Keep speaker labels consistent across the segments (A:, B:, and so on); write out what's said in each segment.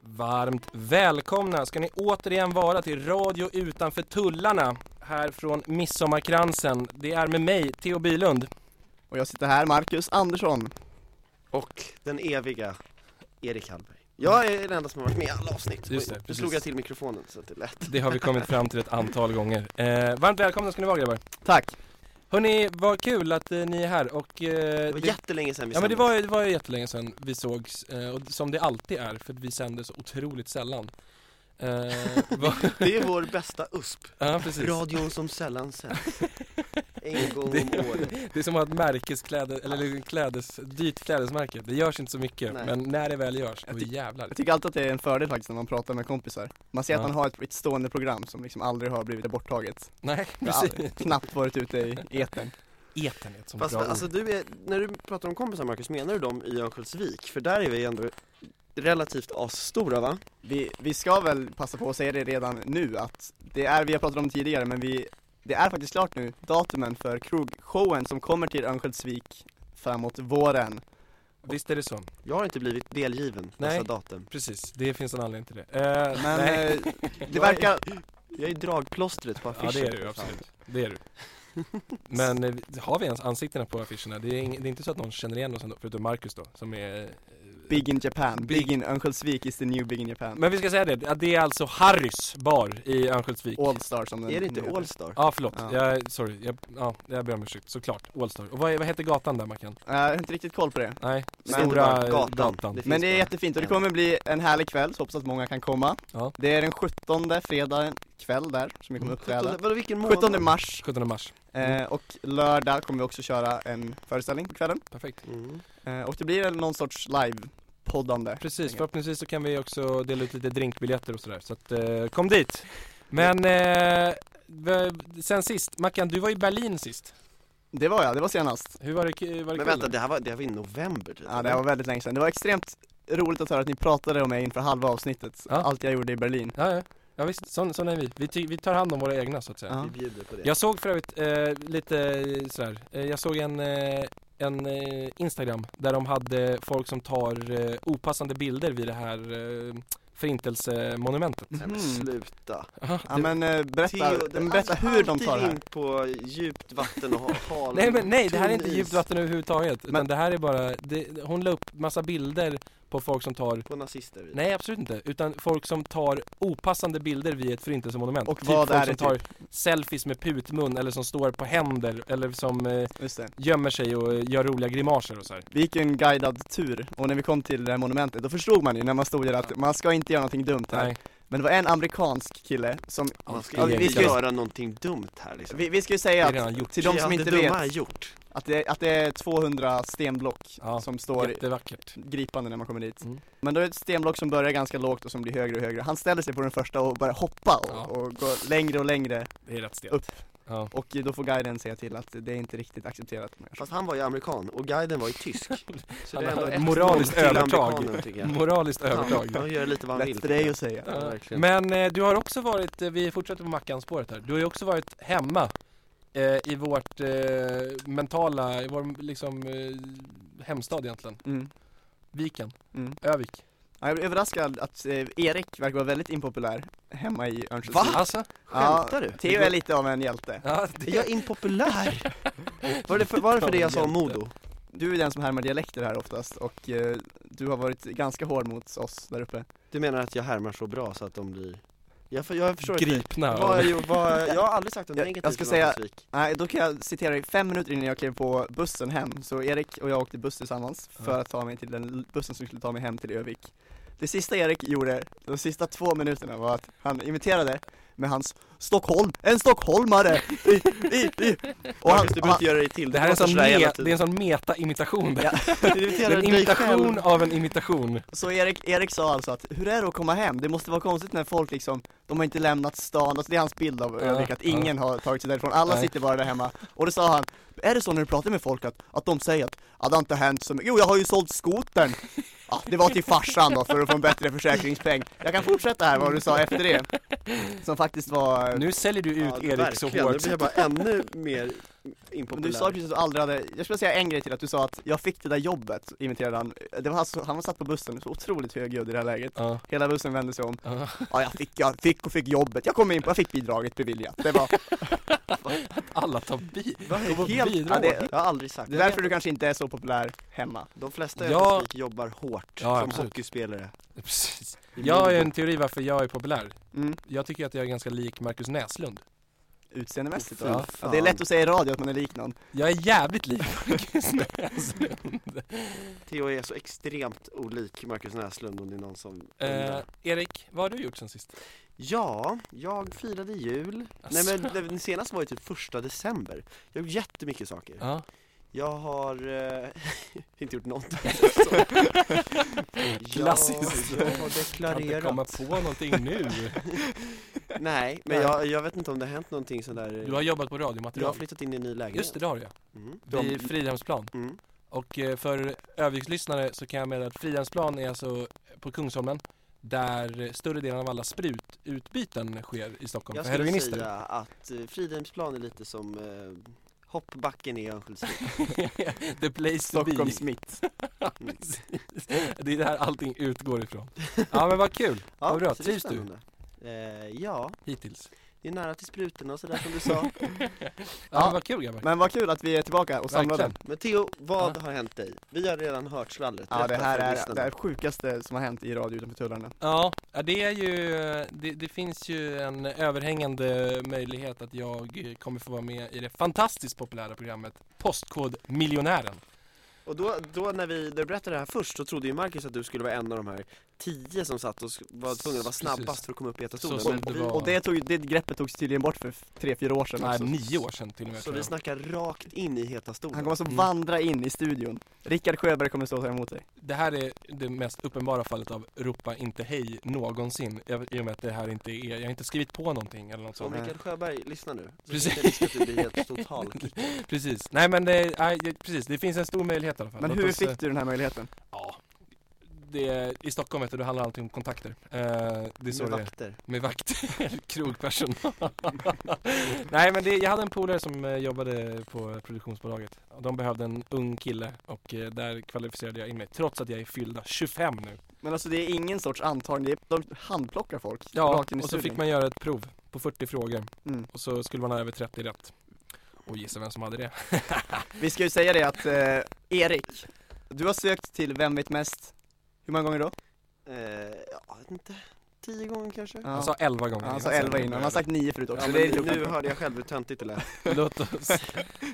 A: Varmt välkomna ska ni återigen vara till Radio utanför tullarna här från Midsommarkransen. Det är med mig, Theo Bylund.
B: Och jag sitter här, Marcus Andersson.
C: Och den eviga Erik Hallberg. Jag är den enda som har varit med i alla avsnitt.
A: Mm. Just det,
C: Nu
A: precis. Eh,
C: slog jag till mikrofonen så att det lät.
A: Det har vi kommit fram till ett antal gånger. Eh, varmt välkomna ska ni vara grabbar.
B: Tack!
A: Hörni, vad kul att eh, ni är här och... Eh,
C: Det var jättelänge sedan vi
A: ja men det
C: sände.
A: var, ju- det var ju jättelänge sedan vi sågs, eh, och som det alltid är, för vi sänder så otroligt sällan. Eh, va,
C: Det är vår bästa USP.
A: ja, precis.
C: Radion som sällan sänds. En gång om året.
A: Det är som att ha ett märkeskläde, eller liksom klädes, dyrt klädesmärke. Det görs inte så mycket,
C: Nej.
A: men när det väl görs, då
B: Jag ty-
A: jävlar.
B: Jag tycker alltid att det är en fördel faktiskt när man pratar med kompisar. Man ser att
A: Ja.
B: man har ett, ett stående program som liksom aldrig har blivit borttaget.
A: Nej,
B: Det har
A: precis.
B: aldrig- knappt varit ute i etern.
A: Eten är ett sånt
C: Fast
A: bra ord.
C: alltså du är, när du pratar om kompisar Marcus, menar du dem i Örnsköldsvik? För där är vi ändå relativt asstora va?
B: Vi, vi ska väl passa på att säga det redan nu att det är, vi har pratat om det tidigare men vi, det är faktiskt klart nu, datumen för krogshowen som kommer till Örnsköldsvik framåt våren.
A: Visst är det så.
C: Jag har inte blivit delgiven
A: Nej.
C: dessa datum.
A: Precis, det finns en anledning till det. Eh,
B: Men
A: nej.
B: eh, det verkar,
C: Jag är dragplåstret på affischen.
A: Ja det är du, absolut. Det är du. Men eh, vi- har vi ens ansiktena på affischerna? Det är, ing, det är inte så att någon känner igen oss ändå, förutom Marcus då, som är... eh,
B: big in Japan,
A: Big-
B: big in Örnsköldsvik is the new big in Japan.
A: Men vi ska säga det, att det är alltså Harrys bar i Örnsköldsvik.
B: Allstar som den
C: Är det inte
B: nu heter.
C: Allstar?
A: Ja, förlåt.
B: Ja.
A: Jag, sorry. Jag, ja, jag ber om ursäkt. Såklart. Allstar. Och vad, är- vad heter gatan där, Mackan?
B: Jag har inte riktigt koll på det.
A: Nej,
C: Men
A: Stora
C: det var
A: gatan.
C: gatan.
A: gatan.
C: finns
B: Men det är
C: bara
B: jättefint och det
C: en.
B: kommer bli en härlig kväll, så hoppas att många kan komma.
A: Ja.
B: Det är den 17 fredag kväll där som vi kommer uppträda.
C: 17, vadå vilken Mm. månad? Mm.
B: 17 mars
A: 17 mars.
B: eh, och lördag kommer vi också köra en föreställning på kvällen.
A: Perfekt.
C: Mm.
B: Eh, och det blir väl någon sorts live-poddande.
A: Precis,
B: Tänker.
A: förhoppningsvis så kan vi också dela ut lite drinkbiljetter och sådär. Så att, eh, kom dit! Men eh, v- sen sist, Mackan, du var i Berlin sist.
B: Det var jag, det var senast.
A: Hur var det, k- var det
C: Men
A: kul
C: vänta,
A: där?
C: det här var, det här var i november typ.
B: Ja, det var väldigt länge sedan. Det var extremt roligt att höra att ni pratade om mig inför halva avsnittet,
A: Ja.
B: allt jag gjorde i Berlin.
A: Ja, ja. ja visst, sån, sån är vi. Vi, ty- vi tar hand om våra egna så att säga.
B: Ja.
C: Vi bjuder på det.
A: Jag såg för övrigt eh, lite sådär, eh, jag såg en, eh, en eh, Instagram där de hade folk som tar eh, opassande bilder vid det här eh, förintelsemonumentet.
C: Nej men
B: Mhm.
C: sluta.
B: Ja men eh, berätta,
C: Mm. Theo, det-
B: men berätta
C: alltså,
B: hur de tar det
C: alltid
B: här.
C: in på djupt vatten och ha- hal.
A: Nej men nej, det här är inte
C: tunn
A: djupt
C: is
A: vatten överhuvudtaget. Utan
B: Men-
A: det här är bara, det, hon la upp massa bilder på folk som tar
C: På nazister. vid.
A: Nej absolut inte, utan folk som tar opassande bilder vid ett förintelsemonument Typ
B: Och vad
A: folk
B: är
A: som
B: det typ?
A: tar selfies med putmun eller som står på händer eller som eh,
B: Just det.
A: gömmer sig och eh, gör roliga grimaser och så här.
B: Vi gick ju en guidad tur och när vi kom till det här monumentet då förstod man ju när man stod där att man ska inte göra någonting dumt här.
A: Nej,
B: Men det var en amerikansk kille som,
C: Man ska
B: Ja,
C: ju
B: vi
C: inte
B: ska-
C: göra någonting dumt här liksom.
B: vi, vi ska ju
A: det
B: säga
A: är redan gjort.
B: att, till de
C: Ja,
B: som inte
C: det dumma
B: vet,
C: är gjort.
B: att det, att det är 200 stenblock
A: Ja,
B: som står i-
A: Jättevackert.
B: gripande när man kommer dit.
A: Mm.
B: Men då är det ett stenblock som börjar ganska lågt och som blir högre och högre. Han ställer sig på den första och börjar hoppa och,
A: Ja.
B: och går längre och längre
A: Det är rätt stelt.
B: Upp.
A: Ja.
B: och då får guiden säga till att det är inte riktigt accepterat.
C: Fast han var ju amerikan och guiden var ju tysk. Så
A: Han
C: det är ändå
A: har ett
C: ett
A: moraliskt
C: noll till
A: övertag.
C: amerikanen, tycker jag.
A: Moraliskt
C: Ja,
A: övertag.
C: Han gör lite vad han vill.
B: Lätt för dig att säga.
C: Ja,
A: Ja.
C: verkligen.
A: Men eh, du har också varit, eh, vi fortsätter på Mackan-spåret här, du har ju också varit hemma eh, i vårt eh, mentala, i vår liksom eh, hemstad egentligen,
B: Mm.
A: Viken,
B: Mm.
A: Övik.
B: Ja, Jag blev överraskad att eh, Erik verkar vara väldigt impopulär hemma i Örnsköldsvik.
A: Alltså,
C: Skämtar du?
B: Theo är lite av en hjälte.
A: ja,
C: Är
A: det,
C: jag impopulär? Var det för, var det, för det jag sa om Modo?
B: Du är den som härmar dialekter här oftast och eh, du har varit ganska hård mot oss där uppe.
C: Du menar att jag härmar så bra så att de blir... Jag, för, jag förstår inte.
A: gripna.
C: Vad, jag gjorde- vad, jag har aldrig sagt något
B: Jag-
C: negativt
B: jag ska
C: om
B: säga-
C: Örnsköldsvik.
B: Nej, då kan jag citera dig fem minuter innan jag klev på bussen hem. Så Erik och jag åkte buss tillsammans för
A: Ja.
B: att ta mig till den l- bussen som skulle ta mig hem till Övik. Det sista Erik gjorde, de sista två minuterna var att han imiterade med hans Stockholm, en stockholmare! I, i, i. Och han,
C: Marcus, du behöver inte göra dig till.
A: Det här är en
C: låter
A: sån,
C: sådär hela
A: me,
C: tiden.
A: det är en sån meta-imitation.
B: Ja.
A: Det är en imitation av en imitation.
B: Så Erik, Erik sa alltså att, hur är det att komma hem? Det måste vara konstigt när folk liksom, de har inte lämnat stan, alltså det är hans bild av
A: Ja,
B: Örnsköldsvik, att
A: ja.
B: ingen har tagit sig därifrån, alla
A: Nej.
B: sitter bara där hemma. Och då sa han, är det så när du pratar med folk att, att de säger att, ja det har inte hänt så mycket, jo jag har ju sålt skotern! Ja, det var till farsan då för att få en bättre försäkringspeng. Jag kan fortsätta här vad du sa efter det. Som faktiskt var,
A: Nu säljer du ut
C: Ja,
A: Erik så
C: verkligen.
A: hårt.
C: Nu blir jag bara ännu mer
B: Men du sa
C: impopulär.
B: precis att du aldrig hade, jag skulle säga en grej till att du sa att jag fick det där jobbet, imiterade han. Det var alltså, han var satt på bussen, så otroligt högljudd i det här läget.
A: Ja.
B: Hela bussen vände sig om.
A: Ja.
B: Ja, jag fick, jag fick och fick jobbet. Jag kom in på, jag fick bidraget beviljat. Det var,
A: Alla tar bi.
C: Vad
A: på
C: helt,
A: bidrag.
C: ja, det, jag har aldrig sagt
B: det är därför du kanske inte är så populär hemma.
C: De flesta i
A: Ja.
C: Örnsköldsvik jobbar hårt
A: Ja,
C: som
A: absolut.
C: hockeyspelare.
A: Precis.
C: I
A: Jag har ju
C: Mjällby.
A: en teori varför jag är populär.
B: Mm.
A: Jag tycker att jag är ganska lik Markus Näslund.
B: Utseendemässigt
C: Åh,
B: då.
C: fy
B: ja, Det är
C: fan.
B: lätt att säga i radio att man är lik någon.
A: Jag är jävligt lik Markus Näslund.
C: Theo är så extremt olik Marcus Näslund om det är någon som
A: Eh,
C: undrar.
A: Erik, vad har du gjort sen sist?
C: Ja, jag firade jul.
A: Alltså.
C: Nej men det- den senaste var ju typ första december. Jag har gjort jättemycket saker.
A: Ja.
C: Jag har eh, inte gjort något.
A: Klassiskt.
C: Jag, jag har
A: Kan inte komma
C: deklarerat.
A: på någonting nu.
C: Nej, men
B: Nej.
C: jag, jag vet inte om det har hänt någonting sådär.
A: Du har jobbat på
C: jag har
A: radiomaterial.
C: flyttat in i en ny lägenhet.
A: Just det, det har jag.
C: Mm.
A: Vid Fridhemsplan.
C: Mm.
A: Och eh, för Övikslyssnare så kan jag meddela att Fridhemsplan är alltså på Kungsholmen där större delen av alla sprututbyten sker i Stockholm
C: Jag
A: för
C: skulle
A: heroinister.
C: säga att eh, Fridhemsplan är lite som eh, hoppbacken i Örnsköldsvik.
A: The place to be.
B: Stockholm Smith.
C: Mm.
A: Precis. Det är där allting utgår ifrån. Ja men vad kul Vad bra.
C: så det är
A: Trivs du?
C: spännande. Eh, ja,
A: hittills.
C: det är nära till sprutorna och sådär som du sa.
A: Ja,
B: Ja.
A: men vad kul grabbar.
B: Men vad kul att vi är tillbaka och samlade.
A: Verkligen.
C: Men Theo, vad
A: Ja.
C: har hänt dig? Vi har redan hört skvallret.
B: Ja, det
C: Berätta
B: här
C: för
B: är
C: lyssnarna.
B: det här sjukaste som har hänt i radio utanför tullarna.
A: Ja, ja, det är ju, det, det finns ju en överhängande möjlighet att jag kommer få vara med i det fantastiskt populära programmet Postkodmiljonären.
C: Och då, då när vi när du berättade det här först så trodde ju Marcus att du skulle vara en av de här tio som satt och sk- var tvungna att vara
A: Precis.
C: snabbast för att komma upp i
A: Så
C: Etastolen.
A: som
C: Men
A: det
C: vi-
A: var.
B: Och det, tog, det greppet togs tydligen bort för f- tre, fyra år sedan
A: Nej,
B: också.
A: nio år sedan till och med.
C: Så
A: tror
C: vi
A: jag.
C: snackar rakt in i Heta stolen.
B: Han kommer alltså
A: Mm.
B: vandra in i studion. Rickard Sjöberg kommer stå och ta emot dig.
A: Det här är det mest uppenbara fallet av ropa inte hej någonsin. I och med att det här inte är, jag har inte skrivit på någonting eller något
C: Så om
A: sånt.
C: Mikael Sjöberg lyssnar nu, så
A: Precis.
C: finns det risk att du blir typ helt total
A: Precis, nej men det, nej, det- precis, det finns en stor möjlighet i alla fall.
B: Men
A: Låt
B: hur
A: oss, eh,
B: fick du den här möjligheten?
A: Ja, det är, i Stockholm vet du, det handlar alltid om kontakter. Eh, det är så
C: med
A: det är.
C: vakter.
A: Med vakter, krogpersonal. Nej men det, jag hade en polare som eh, jobbade på produktionsbolaget. Och De behövde en ung kille och eh, där kvalificerade jag in mig trots att jag är fyllda 25 nu.
B: Men alltså det är ingen sorts antagning, det är, de handplockar folk
A: Ja,
B: rakt in i
A: och så
B: studion.
A: fick man göra ett prov på 40 frågor
B: Mm.
A: och så skulle man ha över 30 rätt. Och gissa vem som hade det?
B: Vi ska ju säga det att eh, Erik, du har sökt till Vem vet mest, hur många gånger då?
C: Eh, jag vet inte, tio gånger kanske?
B: Ja.
A: Han sa 11 gånger.
B: Ja, han sa 11 innan, han har sagt 9 förut
C: Ja,
B: också,
C: men
B: det är lite
C: nu
B: uppenbart.
C: hörde jag själv hur töntigt det lät.
A: Låt oss.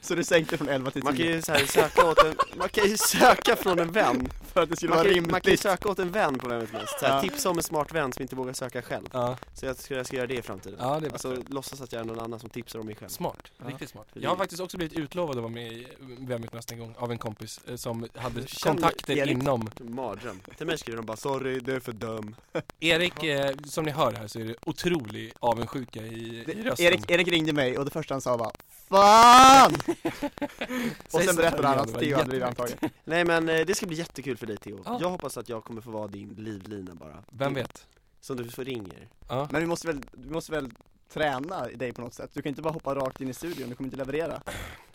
B: Så du sänkte från 11 till
C: Man kan
B: 10
C: ju så här söka åt en, man kan ju söka från en vän.
B: för att det skulle
C: Man
B: vara
C: kan, ju- man kan ju
B: rimligt.
C: söka åt en vän på Vem vet mest. Så här,
B: Ja.
C: Tipsa om en smart vän som inte vågar söka själv.
A: Ja,
C: Så jag ska, jag ska göra det i framtiden.
A: ja det är
C: Alltså
A: bättre.
C: låtsas att jag är någon annan som tipsar om mig själv.
A: Smart,
B: Ja.
A: riktigt smart.
C: Det-
A: Jag har faktiskt också blivit utlovad att vara med i Vem vet mest en gång av en kompis eh, som hade
B: Känner
A: kontakter
B: Erik.
A: inom
C: Mardröm. Till mig skriver de bara 'Sorry, du är för dum'
A: Erik, eh, som ni hör här så är det otrolig avundsjuka i, i
B: Det-
A: rösten.
B: Erik, Erik ringde mig och det första han sa var FAN! och
A: Säg så
B: sen berättade han
A: igen,
B: att
A: det var
B: Theo hade blivit
A: jättemärkt.
B: antagen.
C: Nej men eh, det ska bli jättekul för dig Theo.
A: Ja.
C: Jag hoppas att jag kommer få vara din livlina bara.
A: Vem vet?
C: Som du får ringer.
A: Ja.
B: Men vi måste väl, vi måste väl träna dig på något sätt? Du kan inte bara hoppa rakt in i studion, du kommer inte leverera.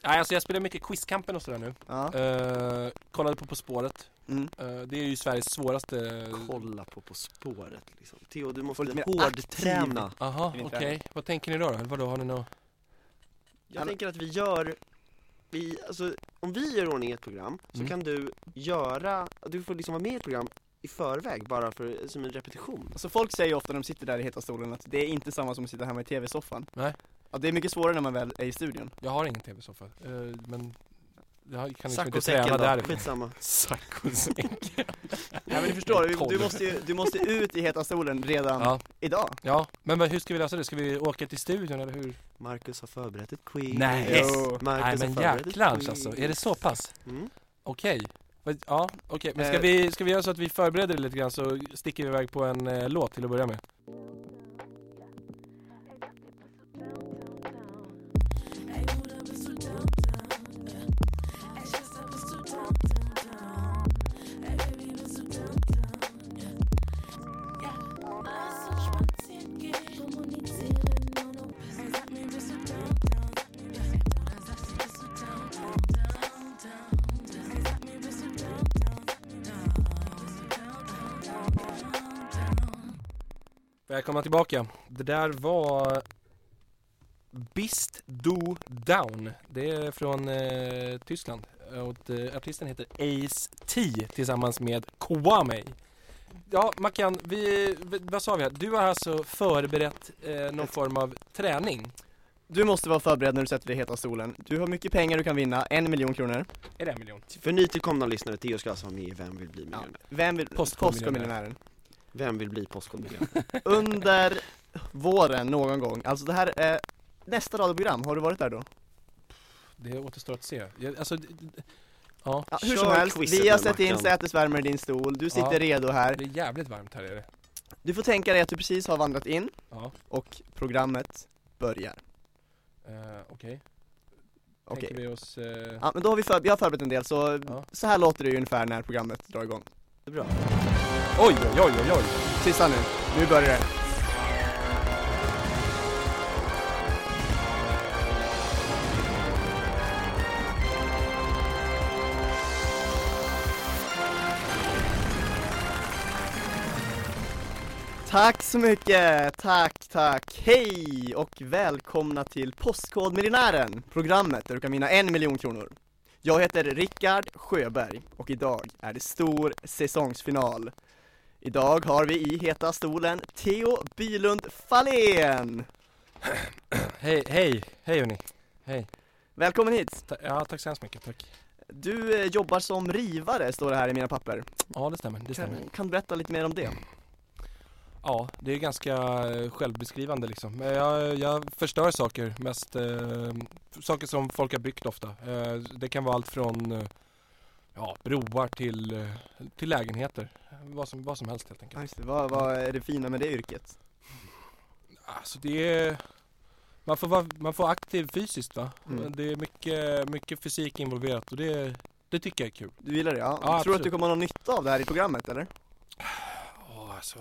A: Nej, alltså jag spelar mycket Quizkampen och sådär nu.
B: Ja.
A: Eh, kollade på På spåret.
B: Mm.
A: Eh, det är ju Sveriges svåraste...
C: Kolla på På spåret liksom. Theo du måste
B: Få lite mer
C: hårdträna.
A: Aha,
B: Är det
A: okej.
B: inte
A: Vad tänker ni då? då? Eller Vadå, har ni något?
C: Jag
B: Alla-
C: tänker att vi gör, vi, alltså om vi gör i ordning ett program så
A: Mm.
C: kan du göra, du får liksom vara med i ett program i förväg bara för, som en repetition.
A: liksom
B: Alltså folk säger ju ofta när de sitter där i heta stolen att det är inte samma som att sitta hemma i tv-soffan.
A: Nej.
B: Ja, det är mycket svårare när man väl är i studion.
A: Jag har ingen tv-soffa. Eh, men jag har- kan liksom
C: Sack
A: inte
C: och säcken
A: träna
C: då,
A: därifrån.
C: skitsamma.
A: Sack och säck.
B: Nej men du förstår, du, du,
A: Tolv.
B: måste ju, du måste ut i heta stolen redan
A: Ja,
B: idag.
A: ja. Men vad- hur ska vi lösa det? Ska vi åka till studion eller hur?
C: Marcus har förberett ett quiz.
A: Nej.
B: Yes.
A: Nej
C: Marcus
A: men
C: har förberett ett
A: jäklar
C: quiz.
A: alltså, är det så pass?
C: Mm.
A: Okej. Vad- Ja, okej. Men ska
B: Eh.
A: vi, ska vi göra så att vi förbereder det lite grann så sticker vi iväg på en eh, låt till att börja med.
D: Kommunizieren nur noch. Er sagt mir, bist du down, down. Ja, Bruder, sagst du, bist du
A: Välkomna tillbaka. Det där var Bist Do Down. Det är från eh, Tyskland. Och, eh, artisten heter Ace T tillsammans med Kwame. Ja, Mackan, vi, v- vad sa vi här? Du har alltså förberett eh, någon form av träning.
B: Du måste vara förberedd när du sätter dig i heta stolen. Du har mycket pengar du kan vinna, en miljon kronor.
A: Är det en miljon?
C: För nytillkomna lyssnare, Theo ska alltså vara med i Vem vill bli miljonär?
B: Vem vill...
A: Postkodmiljonären.
B: Postkodmiljonären.
C: Vem vill bli Postkodmiljonär?
B: Under våren någon gång, alltså det här är nästa radioprogram, har du varit där då?
A: Det återstår att se. Jag, alltså, d- d- ja,
B: Ja, hur
C: Kör
B: som helst,
C: quizet
B: vi har
C: nu,
B: sätt in
C: Mackan.
B: sätesvärmare i din stol, du sitter
A: Ja.
B: redo här.
A: det är jävligt varmt här är det.
B: Du får tänka dig att du precis har vandrat in
A: Ja,
B: och programmet börjar.
A: eh, okej.
B: Okej.
A: Tänker vi oss... Eh,
B: Ja, men då har vi, för, vi har förberett en del, så,
A: Ja.
B: så här låter det ju ungefär när programmet drar igång.
C: Det är bra.
A: Oj, oj, oj, oj, oj!
B: Sista nu, nu börjar det. Tack så mycket, tack, tack, hej och välkomna till Postkodmiljonären, programmet där du kan vinna en miljon kronor. Jag heter Rickard Sjöberg och idag är det stor säsongsfinal. Idag har vi i heta stolen Theo Bylund Fahlén!
A: Hej, hej, hej hörni. Hej.
B: Välkommen hit!
A: Ta- ja, tack så hemskt mycket, tack.
B: Du eh, jobbar som rivare, står det här i mina papper.
A: Ja, det stämmer, det stämmer.
B: Kan, kan du berätta lite mer om det?
A: Ja, det är ganska eh, självbeskrivande liksom. Men Jag, jag förstör saker mest, eh, saker som folk har byggt ofta. Eh, det kan vara allt från eh, ja, broar till, eh, till lägenheter. Vad som, vad som helst helt enkelt.
B: Just det, Vad, vad är det fina med det yrket? Mm.
A: Alltså det är, man får, vara, man får aktiv fysiskt va?
B: Mm.
A: Det är mycket, mycket fysik involverat och det, det tycker jag är kul.
B: Du gillar det ja?
A: Ja,
B: Tror du
A: absolut.
B: att du kommer ha någon nytta av det här i programmet eller?
A: Ja, alltså,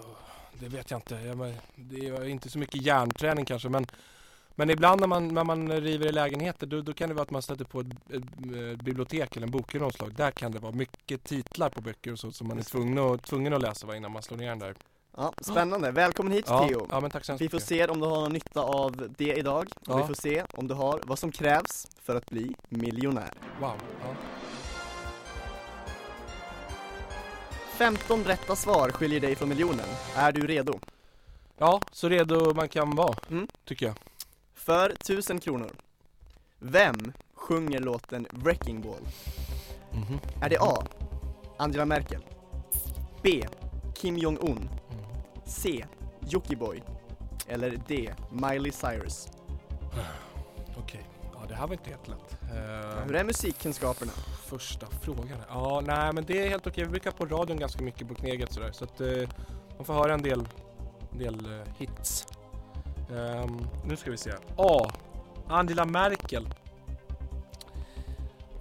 A: det vet jag inte. Jag, men- det är inte så mycket hjärnträning kanske, men, men ibland när man, när man river i lägenheter, då, då kan det vara att man stöter på ett, ett, eh, bibliotek eller en bokhylla av något slag. Där kan det vara mycket titlar på böcker och så som man är tvungen att, tvungen att läsa va, innan man slår ner den där.
B: Ja, spännande. Välkommen hit
A: Ja,
B: Theo!
A: ja men tack så hemskt
B: Vi får
A: mycket.
B: se om du har någon nytta av det idag, och
A: Ja.
B: vi får se om du har vad som krävs för att bli miljonär.
A: Wow. Ja.
B: 15 rätta svar skiljer dig från miljonen. Är du redo?
A: ja, så redo man kan vara,
B: Mm.
A: tycker jag.
B: För 1000 kronor. Vem sjunger låten Wrecking Ball?
A: Mhm.
B: Mm-hmm. Är det A. Angela Merkel? B. Kim Jong-Un?
A: Mm-hmm.
B: C. Jockiboi? Eller D. Miley Cyrus?
A: Okej. Ja, det här var inte helt lätt. Eh,
B: Hur är musikkunskaperna?
A: Första frågan. Ja, nej men det är helt okej. Vi brukar på radion ganska mycket på Kneget sådär. Så att eh, man får höra en del, en del eh, hits. Ehm, nu ska vi se. A. Angela Merkel.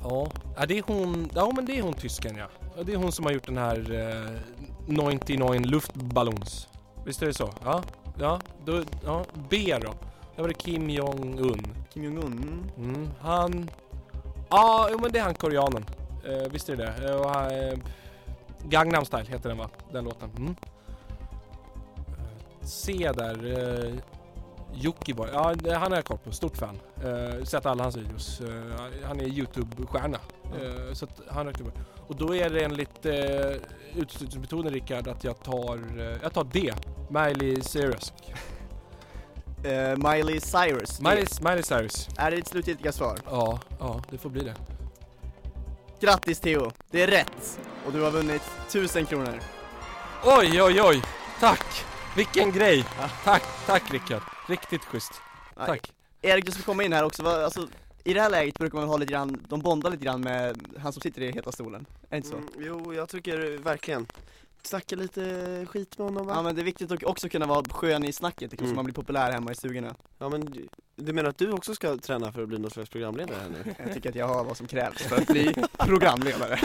A: Ja, ja, det är hon. Ja, men det är hon tysken ja. Ja, Det är hon som har gjort den här eh, 99 luftballons. Visst är det så? Ja, ja, då, ja. B då. Där var det Kim Jong-Un.
B: Kim Jong-Un?
A: Mm, han... Ja, jo men det är han koreanen. Eh, visst är det det Eh, och han, eh, Gangnam style heter den va? Den låten. Mm. Eh, C där. Eh, Jockiboi. Ja, det- han har jag koll på. Stort fan. Eh, sett alla hans videos. Eh, han är YouTube-stjärna. Eh, så att han räcker bra. Och då är det enligt eh, uteslutningsmetoden Rickard att jag tar, eh, jag tar D. Miley Cyrus.
B: Eh, Miley Cyrus? D.
A: Miley, Miley Cyrus.
B: Är det ditt slutgiltiga svar?
A: Ja, ja, det får bli det.
B: Grattis Theo! Det är rätt! Och du har vunnit 1000 kronor.
A: Oj, oj, oj! Tack! Vilken grej! Tack, tack Rickard! Riktigt schysst.
B: Nej.
A: Tack.
B: Erik, du ska komma in här också. Vad- Alltså, I det här läget brukar man ha lite grann, de bondar lite grann med han som sitter i heta stolen. Är det inte så?
C: Mm, jo, jag tycker verkligen. Snacka lite skit med honom va?
B: Ja men det är viktigt att också kunna vara skön i snacket, liksom, så
C: Mm.
B: man blir populär hemma i stugorna.
C: Ja men du- du menar att du också ska träna för att bli någon slags programledare här nu?
B: Jag tycker att jag har vad som krävs för att bli programledare.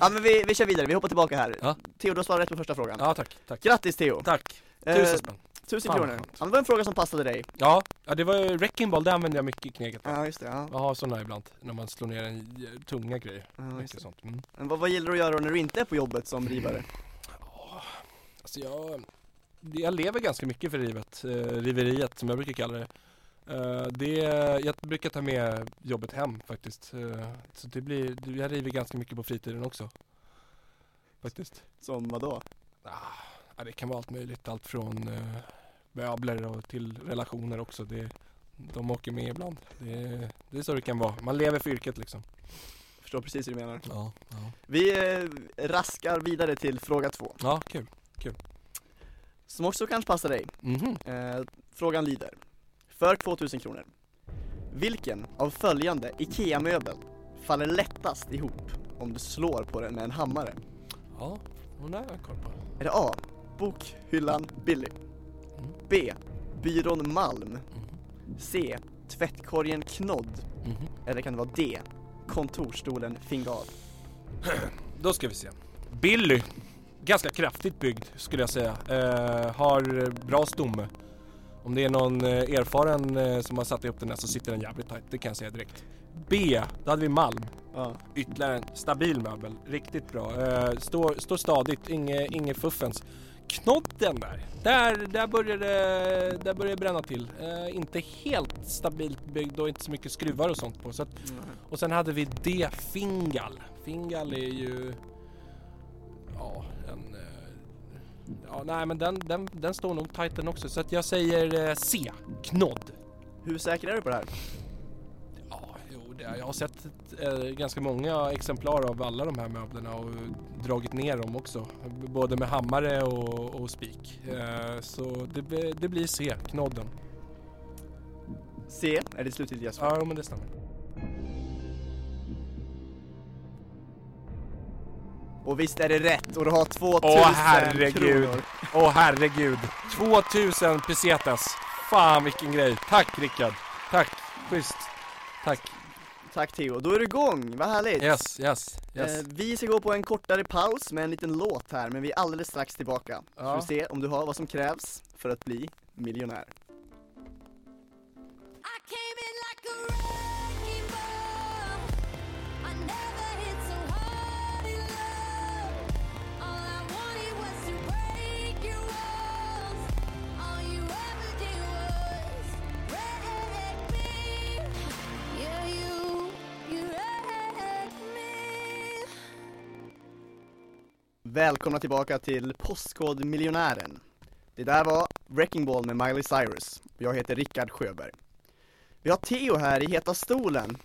B: ja men vi, vi kör vidare, vi hoppar tillbaka här.
A: Ja.
B: Theo, du har svarat rätt på första frågan.
A: Ja, tack, tack.
B: Grattis Theo!
A: Tack,
B: Eh,
A: tusen spänn.
B: tusen
A: Fan,
B: kronor.
A: vad skönt.
B: Ja, men det var en fråga som passade dig.
A: Ja, ja, det var ju wrecking ball, det använde jag mycket i kneget. va?
B: Ja just det, ja.
A: Jag har sådana ibland, när man slår ner en j- tunga grejer.
B: ja just
A: Mycket
B: det.
A: sånt. Mm.
B: Men vad, vad gillar du att göra när du inte är på jobbet som rivare?
A: Alltså jag... jag lever ganska mycket för rivet, eh, riveriet som jag brukar kalla det. Eh, det. Jag brukar ta med jobbet hem faktiskt. Eh, så det blir, det- jag river ganska mycket på fritiden också. Faktiskt.
B: Som vadå?
A: Ja, det kan vara allt möjligt, allt från eh, möbler och till relationer också. Det, de åker med ibland. Det, det är så det kan vara. Man lever för yrket liksom.
B: Jag förstår precis hur du menar.
A: Ja, ja.
B: Vi eh, raskar vidare till fråga två,
A: ja kul.
B: som också kanske passar dig.
A: Mhm.
B: Eh, frågan lyder. För 2000 kronor. Vilken av följande IKEA-möbel faller lättast ihop om du slår på den med en hammare?
A: Ja, hon har jag koll på.
B: Är det A. Bokhyllan Billy.
A: Mm.
B: B. Byrån Malm.
A: Mhm.
B: C. Tvättkorgen Knodd.
A: Mhm.
B: Eller kan det vara D. Kontorstolen Fingal.
A: Då ska vi se. Billy. Ganska kraftigt byggd skulle jag säga. Eh, har bra stomme. Om det är någon eh, erfaren eh, som har satt ihop den här så sitter den jävligt tajt. Det kan jag säga direkt. B. Då hade vi Malm.
B: Ja.
A: Ytterligare en stabil möbel. Riktigt bra. Eh, står, står stadigt. Inge, inge fuffens. Knodden där. Där, där börjar det där börjar det bränna till. Eh, inte helt stabilt byggd och inte så mycket skruvar och sånt på. Så att och sen hade vi D. Fingal. Fingal är ju... Ja, en... eh, Ja, nej men den, den, den står nog tight den också. Så att jag säger eh, C. Knodd.
B: Hur säker är du på det här?
A: Ja, jo, det, jag har sett eh, ganska många exemplar av alla de här möblerna och dragit ner dem också. B- Både med hammare och, och spik. Eh, så det, blir- det blir C. Knodden.
B: C. Är det slutgiltiga svar?
A: Ja, jo, men det stämmer.
B: Och visst är det rätt och du har 2000
A: Åh, herregud.
B: kronor.
A: Åh herregud. 2000 pesetas. Fan vilken grej. Tack Rickard. Tack. Schysst. Tack.
B: Tack Theo, då är du igång, vad härligt!
A: Yes, yes, yes.
B: Eh, vi ska gå på en kortare paus med en liten låt här, men vi är alldeles strax tillbaka.
A: Ja.
B: Så vi se om du har vad som krävs för att bli miljonär.
D: I came in like a wrecking ball. I never hit so hard in love. All I wanted was to break your walls. All you ever did was wreck me. Yeah, you, you wrecked me.
B: Välkomna tillbaka till Postkodmiljonären. Det där var Wrecking Ball med Miley Cyrus. Jag heter Rickard Sjöberg. Vi har Theo här i heta stolen.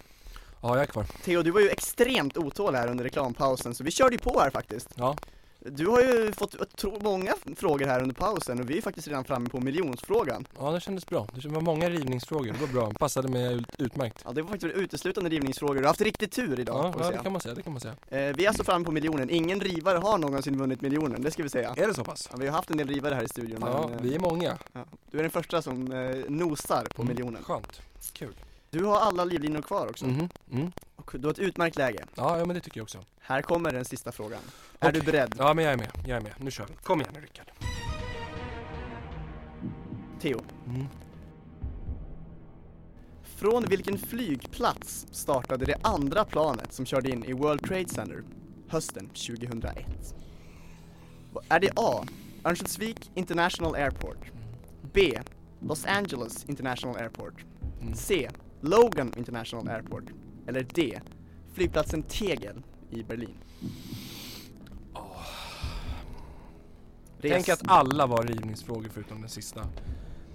A: Ja, jag är kvar.
B: Theo, du var ju extremt otålig här under reklampausen, så vi körde ju på här faktiskt.
A: Ja.
B: Du har ju fått jag tror, många frågor här under pausen och vi är faktiskt redan framme på miljonsfrågan.
A: ja, det kändes bra. Det var många rivningsfrågor. Det var bra. Passade mig ut- utmärkt.
B: Ja, det var faktiskt uteslutande rivningsfrågor. Du har haft riktigt tur idag,
A: Ja,
B: får
A: ja,
B: vi säga.
A: det kan man säga. Det kan man säga.
B: Eh, vi är alltså framme på miljonen, ingen rivare har någonsin vunnit miljonen, det ska vi säga.
A: Är det så pass?
B: Ja, vi har haft en del rivare här i studion,
A: Ja,
B: men eh,
A: vi Mm. är många.
B: du är den första som eh, nosar på miljonen.
A: Skönt. Kul.
B: Du har alla livlinor kvar också,
A: Mhm, mm.
B: och du har ett utmärkt läge.
A: Ja, ja, men det tycker jag också.
B: Här kommer den sista frågan. Är
A: Okej.
B: du beredd?
A: Ja, men jag är med. Jag är med. Nu kör vi. Kom igen nu Rickard.
B: Theo,
A: Mm.
B: från vilken flygplats startade det andra planet som körde in i World Trade Center hösten 2001? Är det A. Örnsköldsvik International Airport B. Los Angeles International Airport
A: Mm.
B: C. Logan International Airport eller D. Flygplatsen Tegel i Berlin. Res.
A: Tänk att alla var rivningsfrågor förutom den sista.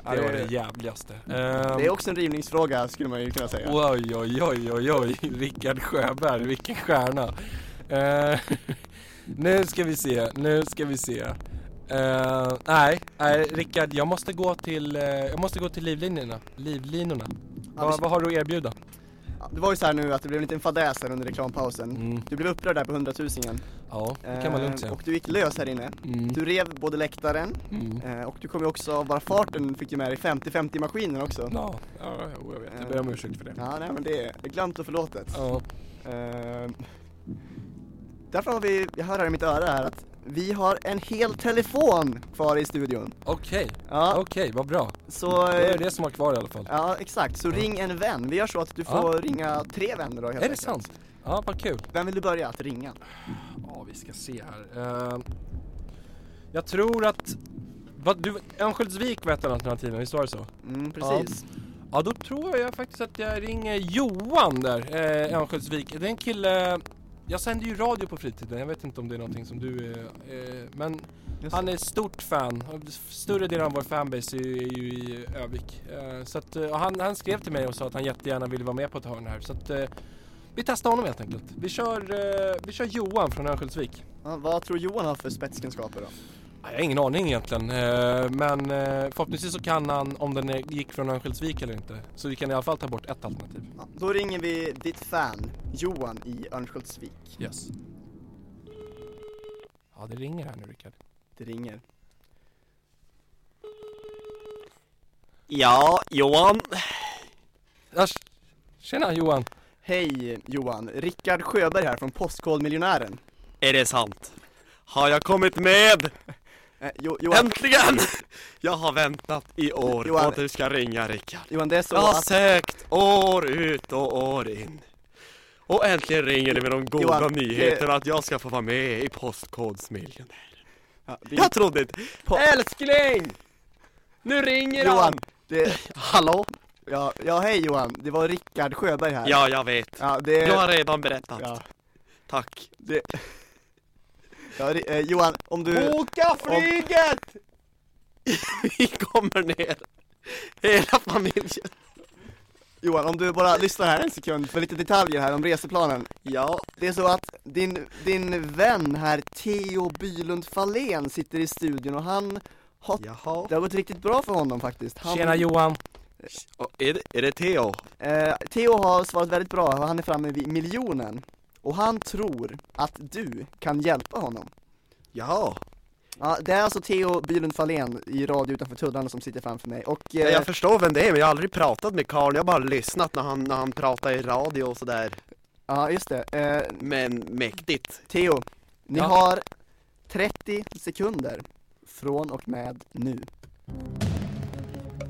B: Ja,
A: Det var
B: det- Mm.
A: det jävligaste.
B: det är
A: Ehm,
B: också en rivningsfråga skulle man ju kunna säga.
A: Oj, oj, oj, oj, oj, Rickard Sjöberg, vilken stjärna. Eh, nu ska vi se, nu ska vi se. Eh, nej, nej, Rickard, jag måste gå till, eh, jag måste gå till livlinorna. Livlinorna.
B: vi
A: Vad-
B: ska-
A: vad har du att erbjuda?
B: Ja, Det var ju så här nu att det blev en liten fadäs här under reklampausen.
A: Mm.
B: Du blev upprörd där på hundratusingen.
A: Ja, det kan man lugnt
B: Eh,
A: säga.
B: Och du gick lös här inne.
A: Mm,
B: Du rev både läktaren
A: mm.
B: eh, och du kom ju också, bara farten fick du med dig 50-50 maskinen också.
A: Ja, ja, jo, jag vet. Jag ber om ursäkt för det.
B: Ja, nej men det är glömt och förlåtet.
A: Ja,
B: Ehm, därför har vi, jag hör här i mitt öra här att vi har en hel telefon kvar i studion.
A: Okej,
B: Ja,
A: okej, vad bra.
B: så, eh,
A: Det är det som var kvar i alla fall.
B: ja exakt, så ring en vän. Vi gör så att du
A: Ja.
B: får ringa tre vänner då helt
A: Är det
B: enkelt.
A: sant? Ja, vad kul.
B: Vem vill du börja att ringa?
A: Ja, vi ska se här. Eh, jag Ehm, tror att Vad, du, Örnsköldsvik var ett av alternativen, visst var det så?
B: Mm, precis.
A: Ja, då tror jag faktiskt att jag ringer Johan där, eh, Örnsköldsvik. Det är en kille, jag sänder ju radio på fritiden, jag vet inte om det är någonting som du är, eh, men
B: Just
A: han är stort fan. Större delen av vår fanbase är ju, är ju i Övik. Eh, så att, eh, och han, han skrev till mig och sa att han jättegärna ville vara med på ett hörn här. Så att, eh, vi testar honom helt enkelt. Vi kör, eh, vi kör Johan från Örnsköldsvik.
B: Ja, vad tror Johan har för spetskunskaper då?
A: Jag har ingen aning egentligen, eh, men eh, förhoppningsvis så kan han, om den är- gick från Örnsköldsvik eller inte, så vi kan i alla fall ta bort ett alternativ.
B: Ja, då ringer vi ditt fan, Johan i Örnsköldsvik.
A: Yes. Ja, det ringer här nu Rickard.
B: Det ringer.
C: Ja, Johan.
A: Ja, Tjena Johan!
B: Hej Johan, Rickard Sjöberg här från Postkodmiljonären.
C: Är det sant? Har jag kommit med?
B: Eh, jo, Johan,
C: Äntligen! Jag har väntat i år
B: Johan.
C: på att du ska ringa Rickard.
B: Johan, det är så
C: Jag har
B: att...
C: sökt år ut och år in. Och äntligen ringer du med de goda
B: Johan, det-
C: nyheterna att jag ska få vara med i Postkodsmiljonären.
B: Ja, det-
C: Jag trodde inte...
B: Po-
C: Älskling! Nu ringer
B: Johan,
C: han!
B: det...
C: Hallå?
B: Ja, ja, hej Johan, det var Rickard Sjöberg här.
C: Ja, jag vet.
B: Ja, det...
C: Du har redan berättat.
B: Ja,
C: Tack.
B: det... Ja, ri- eh, Johan, om du...
C: Boka
B: flyget!
C: Vi kommer ner. Hela familjen.
B: Johan, om du bara lyssnar här en sekund för lite detaljer här om reseplanen.
C: Ja,
B: Det är så att din, din vän här, Theo Bylund Fahlén, sitter i studion och han har...
C: jaha.
B: Det har gått riktigt bra för honom faktiskt. Han,
A: Tjena Johan!
C: Och är, det, är det Theo?
B: Eh, Theo har svarat väldigt bra och han är framme vid miljonen. Och han tror att du kan hjälpa honom.
C: Jaha.
B: Ja, det är alltså Theo Bylund Fahlén i Radio Utanför Tullarna som sitter framför mig och...
C: Ja,
B: Eh,
C: jag förstår vem det är men jag har aldrig pratat med Karl. jag har bara lyssnat när han, när han pratar i radio och sådär.
B: ja, just det. Eh,
C: Men mäktigt.
B: Theo, ni
A: Ja.
B: har 30 sekunder från och med nu.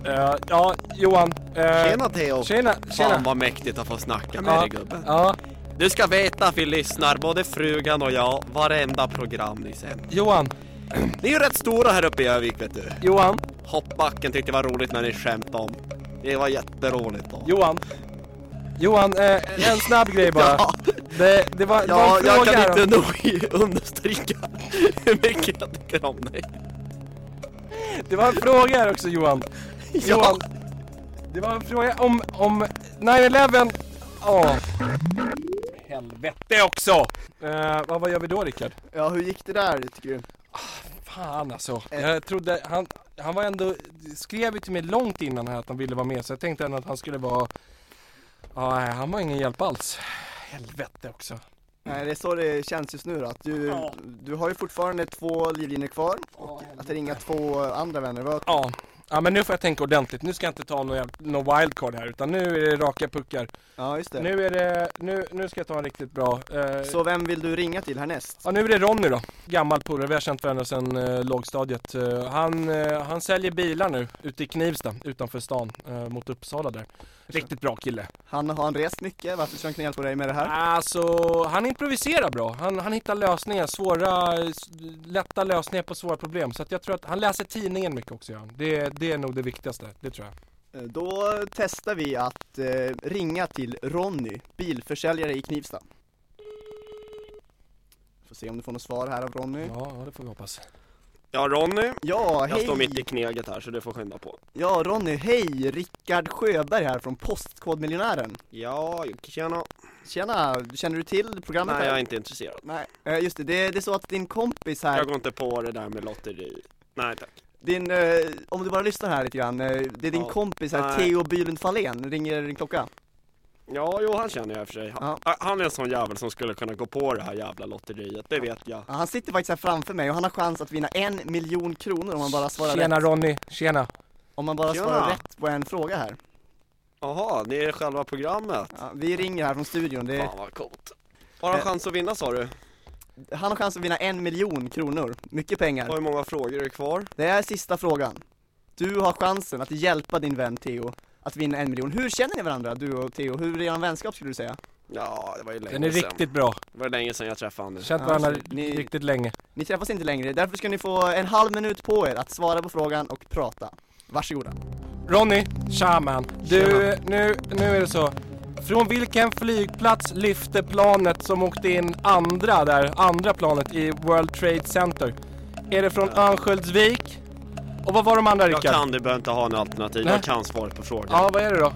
A: Eh, ja, Johan! eh,
C: Tjena Theo!
A: Tjena!
C: Fan
A: Tjena!
C: vad mäktigt att få snacka med
A: Ja,
C: dig gubben.
A: ja,
C: Du ska veta att vi lyssnar, både frugan och jag, varenda program ni sänder.
A: Johan!
C: Ni är ju rätt stora här uppe i Övik vet du.
A: Johan!
C: Hoppbacken tyckte det var roligt när ni skämtade om. Det var jätteroligt då.
A: Johan! Johan, eh, en snabb grej bara. Det, det var, det var
C: Ja,
A: en fråga
C: jag kan
A: här om-
C: inte nog understryka hur mycket jag tycker om dig.
A: Det var en fråga här också Johan. Johan. Det var en fråga om, om 9-11. Ja. Helvete också. Eh, vad, vad gör vi då Rickard?
B: Ja, hur gick det där tycker du?
A: Fan alltså. Jag trodde, han, han var ändå, skrev ju till mig långt innan här att han ville vara med så jag tänkte ändå att han skulle vara, ja nej, han var ingen hjälp alls. Helvete också.
B: Nej, det är så det känns just nu då, att du,
A: Ja.
B: du har ju fortfarande två livlinjer kvar och
A: Ja,
B: att ringa två andra vänner var
A: Ja. Ja men nu får jag tänka ordentligt, nu ska jag inte ta någon, jävla- någon wildcard här utan nu är det raka puckar.
B: Ja, just det.
A: Nu är det, nu, nu ska jag ta en riktigt bra. eh,
B: Så vem vill du ringa till härnäst?
A: Ja nu är det Ronny då, gammal polare, vi har känt varandra sedan eh, lågstadiet. Eh, han, eh, han säljer bilar nu ute i Knivsta, utanför stan, eh, mot Uppsala där. Riktigt bra kille.
B: Han har han rest mycket, varför ska han kunna hjälpa dig med det här?
A: Alltså, han improviserar bra. Han, han hittar lösningar, svåra, eh, s- lätta lösningar på svåra problem. Så att jag tror att han läser tidningen mycket också gör han. det, det är nog det viktigaste, det tror jag.
B: Eh, Då testar vi att eh, ringa till Ronny, bilförsäljare i Knivsta. Får se om du får något svar här av Ronny.
A: Ja, ja, det får vi hoppas.
C: Ja, Ronny.
B: Ja,
C: Jag står
B: hej!
C: mitt i kneget här så du får skynda på.
B: Ja, Ronny, hej! Rickard Sjöberg här från Postkodmiljonären.
C: Ja, tjena.
B: Tjena, känner du till programmet?
C: Nej,
B: här?
C: jag är inte intresserad.
B: Nej, eh, just det, det, det är så att din kompis här,
C: Jag går inte på det där med lotteri. Nej tack.
B: din, eh, om du bara lyssnar här lite grann, eh, det är din
C: Ja.
B: kompis här,
C: Nej.
B: Theo Bylund Fahlén, ringer din klocka?
C: Ja, jo han känner jag i och för sig. Han, han är en sån jävel som skulle kunna gå på det här jävla lotteriet, det vet jag.
B: Ja, han sitter faktiskt här framför mig och han har chans att vinna en miljon kronor om han bara svarar
A: Tjena
B: rätt,
A: Ronny, tjena.
B: om han bara
C: Tjena.
B: svarar rätt på en fråga här.
C: Jaha, det är själva programmet?
B: Ja, vi ringer här från studion, det,
C: Fan vad coolt. Har han
B: Eh.
C: chans att vinna sa du?
B: han har chans att vinna en miljon kronor, mycket pengar.
C: Och hur många frågor är kvar?
B: Det är sista frågan. Du har chansen att hjälpa din vän Theo att vinna en miljon. Hur känner ni varandra, du och Theo? Hur är er vänskap skulle du säga?
C: Ja, det var ju länge
A: Den är
C: sedan.
A: riktigt bra.
C: Det var länge sedan jag träffade Anders.
A: Känt
B: Ja,
A: varandra
B: så ni-
A: riktigt länge.
B: Ni träffas inte längre, därför ska ni få en halv minut på er att svara på frågan och prata. Varsågoda.
A: Ronny, tja man. Du, nu, nu är det så. Från vilken flygplats lyfte planet som åkte in andra där, andra planet i World Trade Center? Är det från Örnsköldsvik? Och vad var de andra
C: Jag
A: Rickard?
C: kan, du behöver inte ha något alternativ.
A: Nej.
C: Jag kan svaret på frågan.
A: Ja, vad är det då?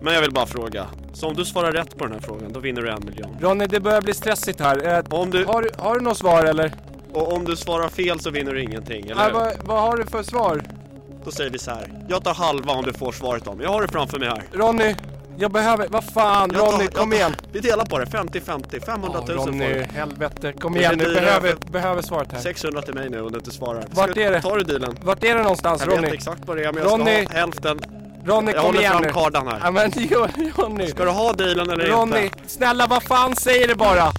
C: Men jag vill bara fråga. Så om du svarar rätt på den här frågan, då vinner du en miljon.
A: Ronny, det börjar bli stressigt här. Eh,
C: Om du,
A: har, du- har du något svar eller?
C: och om du svarar fel så vinner du ingenting, eller
A: Nej,
C: hur?
A: vad, vad har du för svar?
C: Då säger vi så här. Jag tar halva om du får svaret om. Jag har det framför mig här.
A: Ronny, jag behöver... Vad fan,
C: Jag tar-
A: Ronny,
C: jag
A: kom
C: tar-
A: igen.
C: Vi delar på det. 50-50. 500 000
A: Ja,
C: får
A: Ronny,
C: du.
A: helvete. Kom
C: Det
A: igen,
C: blir
A: du
C: dyrare.
A: behöver, behöver svaret här.
C: 600 till mig nu om du inte svarar.
A: Vart
C: Ska-
A: är det?
C: Tar du dealen?
A: Vart är det någonstans
C: Jag vet
A: Ronny?
C: inte exakt vad det är men
A: Ronny.
C: jag ska ha hälften.
A: Ronny,
C: Jag
A: kom
C: håller
A: igen
C: fram
A: nu.
C: kardan här.
A: Ja men jo- Ronny,
C: Ska du ha dealen eller
A: Ronny,
C: inte?
A: snälla vad fan säger du bara?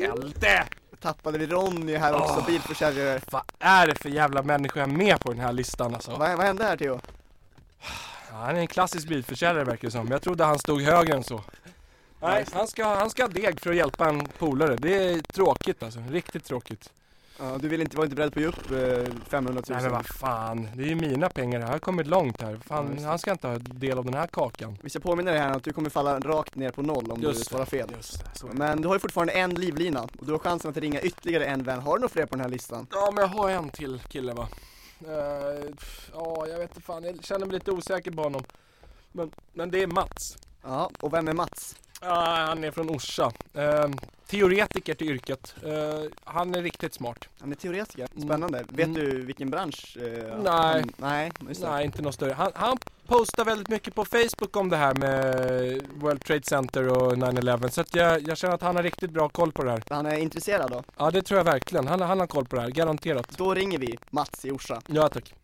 A: Hjälte!
B: Tappade vi Ronny här också, bilförsäljare.
A: Vad är det för jävla människa jag är med på den här listan alltså?
B: Vad, vad hände här Theo?
A: Ja, han är en klassisk bilförsäljare verkar det som. Jag trodde han stod högre än så. Nej, han ska, han ska ha deg för att hjälpa en polare. Det är tråkigt alltså, riktigt tråkigt.
B: Ja, du vill inte, var inte beredd på att ge upp eh, 500 000.
A: Nej men vad fan, det är ju mina pengar. Jag har kommit långt här.
B: Ja,
A: Fan,
B: just det.
A: han ska inte ha del av den här kakan.
B: Vi ska påminna dig här om att du kommer falla rakt ner på noll om
A: Just
B: du
A: det.
B: svarar fel.
A: Just det, så.
B: Men du har ju fortfarande en livlina och du har chansen att ringa ytterligare en vän. Har du några fler på den här listan?
A: Ja men jag har en till kille va. Eh, pff, Ja, jag vet inte fan. Jag känner mig lite osäker på honom. Men, men det är Mats.
B: Ja, och vem är Mats?
A: Ah, han är från Orsa. Eh, teoretiker till yrket. Eh, han är riktigt smart.
B: Han är teoretiker.
A: Mm.
B: Spännande.
A: Mm.
B: Vet du vilken bransch? eh,
A: Nej.
B: han- nej, just det.
A: Nej, inte något större. Han, han postar väldigt mycket på Facebook om det här med World Trade Center och 9-11. Så att jag, jag känner att han har riktigt bra koll på det här.
B: Han är intresserad då?
A: Ja, det tror jag verkligen. Han, han har koll på det här, garanterat.
B: Då ringer vi Mats i Orsa.
A: Ja, tack.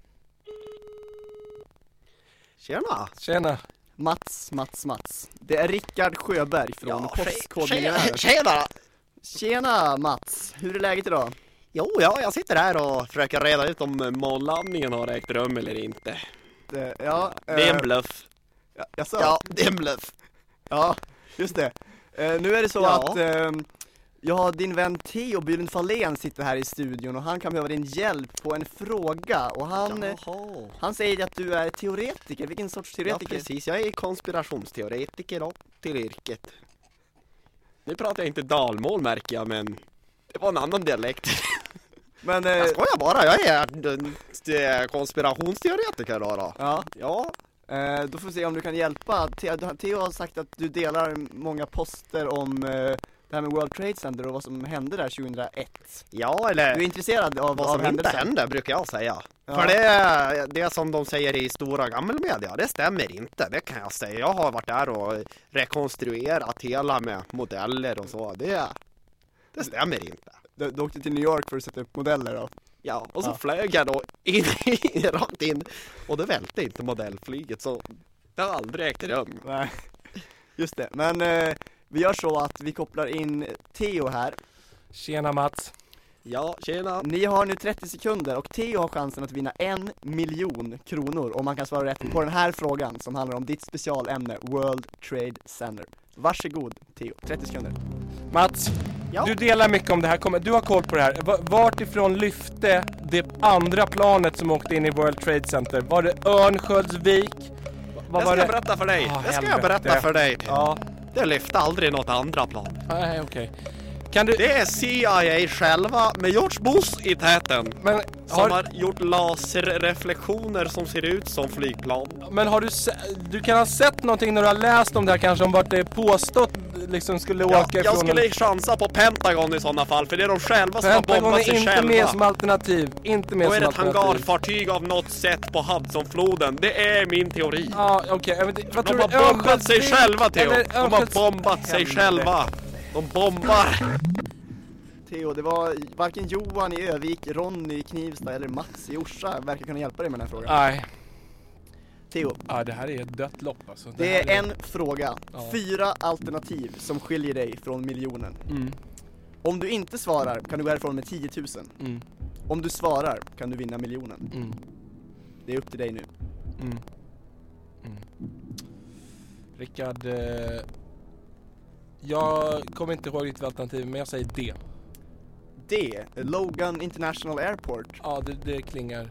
C: Tjena!
A: Tjena.
B: Mats, Mats, Mats. Det är Rickard Sjöberg från
C: tje-
B: Postkodmiljonärer.
C: tjena!
B: Tjena Mats! Hur är läget idag?
C: Jo, ja, jag sitter här och försöker reda ut om månlandningen har ägt rum eller inte.
B: Eh, Ja,
C: Det är
B: eh,
C: en bluff.
B: ja, jaså?
C: Ja, det är en bluff.
B: Ja, just det. Eh, nu är det så
C: Ja.
B: att ehm, ja, din vän Theo Bylund Fahlén sitter här i studion och han kan behöva din hjälp på en fråga och han, eh,
C: Jaha.
B: han säger att du är teoretiker, vilken sorts
C: Ja,
B: teoretiker?
C: precis. Jag är konspirationsteoretiker då, till yrket. Nu pratar jag inte dalmål märker jag, men det var en annan dialekt.
B: Men, eh,
C: Jag skojar bara, jag är en- en konspirationsteoretiker då. då.
B: ja,
C: Ja,
B: eh, då får vi se om du kan hjälpa. Theo, Theo har sagt att du delar många poster om eh, det här med World Trade Center och vad som hände där 2001.
C: ja
B: Du är
C: eller
B: intresserad av
C: vad
B: av
C: som inte
B: händelsen?
C: händer brukar jag säga.
B: Ja.
C: För det, det som de säger i stora gammelmedia, det stämmer inte. Det kan jag säga. Jag har varit där och rekonstruerat hela med modeller och så. Det, det stämmer inte.
B: Du, du åkte till New York för att sätta upp modeller då?
C: Ja, och så
B: Ja.
C: flög jag då in, rakt in och det välte inte modellflyget så det har aldrig ägt rum.
B: Nej, just det. Men eh, vi gör så att vi kopplar in Theo här.
A: Tjena Mats.
C: Ja, tjena!
B: Ni har nu 30 sekunder och Theo har chansen att vinna en miljon kronor om man kan svara rätt på den här frågan som handlar om ditt specialämne World Trade Center. Varsågod Theo, 30 sekunder.
A: Mats,
B: Ja.
A: du delar mycket om det här. Kommer- Du har koll på det här. Va- Vart ifrån lyfte det andra planet som åkte in i World Trade Center? Var det Örnsköldsvik? Va- Vad
C: Det ska
A: var
C: jag
A: det?
C: berätta för dig!
A: Ah,
C: Det ska jag
A: helvete.
C: berätta för dig!
A: Ja,
C: Det lyfte aldrig något andra plan.
A: nej okej. Kan du...
C: Det är CIA själva med George Bush i täten.
A: Men
C: Som
A: har,
C: har gjort laserreflektioner som ser ut som flygplan.
A: men har du se, Du kan ha sett någonting när du har läst om det här kanske om vart det är påstått liksom skulle
C: Ja,
A: åka
C: jag
A: ifrån?
C: skulle chansa på Pentagon i sådana fall, för det är de själva som har
A: Pentagon
C: bombat
A: är
C: sig
A: inte med som
C: själva.
A: alternativ. Inte med
C: Då är
A: som
C: det ett
A: alternativ.
C: hangarfartyg av något sätt på Hudsonfloden. Det är min teori.
A: Ja, okej. men det- vad
C: De
A: tror
C: har
A: du?
C: bombat sig
A: Örnsköldsvik
C: själva Theo!
A: eller
C: De har
A: Örnskölds-
C: bombat sig
A: Helvete.
C: själva! De bombar!
B: Theo, det var varken Johan i Övik, Ronny i Knivsta eller Mats i Orsa verkar kunna hjälpa dig med den här frågan.
A: Nej,
B: Theo,
A: ja, det här är ett dött lopp alltså.
B: det
A: här
B: är en fråga,
A: Ja.
B: fyra alternativ som skiljer dig från miljonen.
A: Mm,
B: Om du inte svarar kan du gå härifrån med 10 000.
A: mm,
B: Om du svarar kan du vinna miljonen.
A: mm,
B: Det är upp till dig nu.
A: mm. mm. Rickard, eh, Jag kommer inte ihåg riktigt alternativ men jag säger D.
B: D. Logan International Airport.
A: Ja, det, det klingar.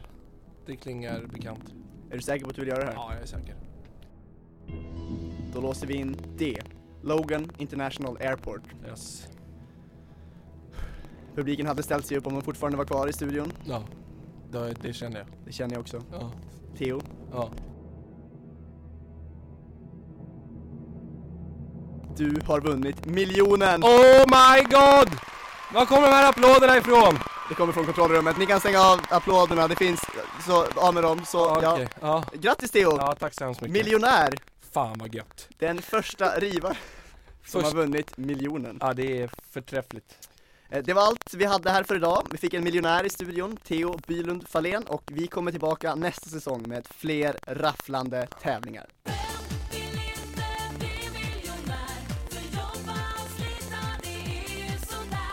A: Det klingar bekant.
B: Är du säker på att du vill göra det här?
A: Ja, jag är säker.
B: Då låser vi in D. Logan International Airport.
A: Yes.
B: Publiken hade ställt sig upp om de fortfarande var kvar i studion.
A: Ja, det, det känner jag.
B: Det känner jag också.
A: Ja.
B: Theo.
A: ja.
B: Du har vunnit miljonen!
A: Oh my god! Var kommer de här applåderna ifrån?
B: Det kommer från kontrollrummet. Ni kan stänga av applåderna. Det finns, så av med dem. Så, ja.
A: Okej, ja.
B: Grattis Theo!
A: ja, tack så hemskt mycket.
B: Miljonär!
A: Fan vad gött.
B: Den första rivaren som
A: Först-
B: har vunnit miljonen.
A: Ja, det är förträffligt.
B: Eh, Det var allt vi hade här för idag. Vi fick en miljonär i studion, Theo Bylund Fahlén, och vi kommer tillbaka nästa säsong med fler rafflande tävlingar.
D: Vill inte bli miljonär, för jobba och slita det är ju sådär.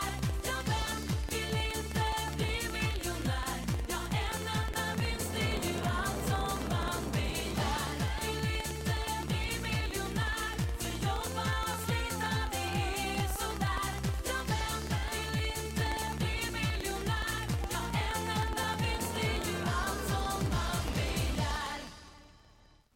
D: Ja, vem vill inte bli miljonär? Ja, en enda vinst är ju allt som man begär. Vill inte bli miljonär, för jobba och slita det är ju sådär. Ja, vem vill inte bli miljonär? Ja, en enda vinst är ju allt som man begär.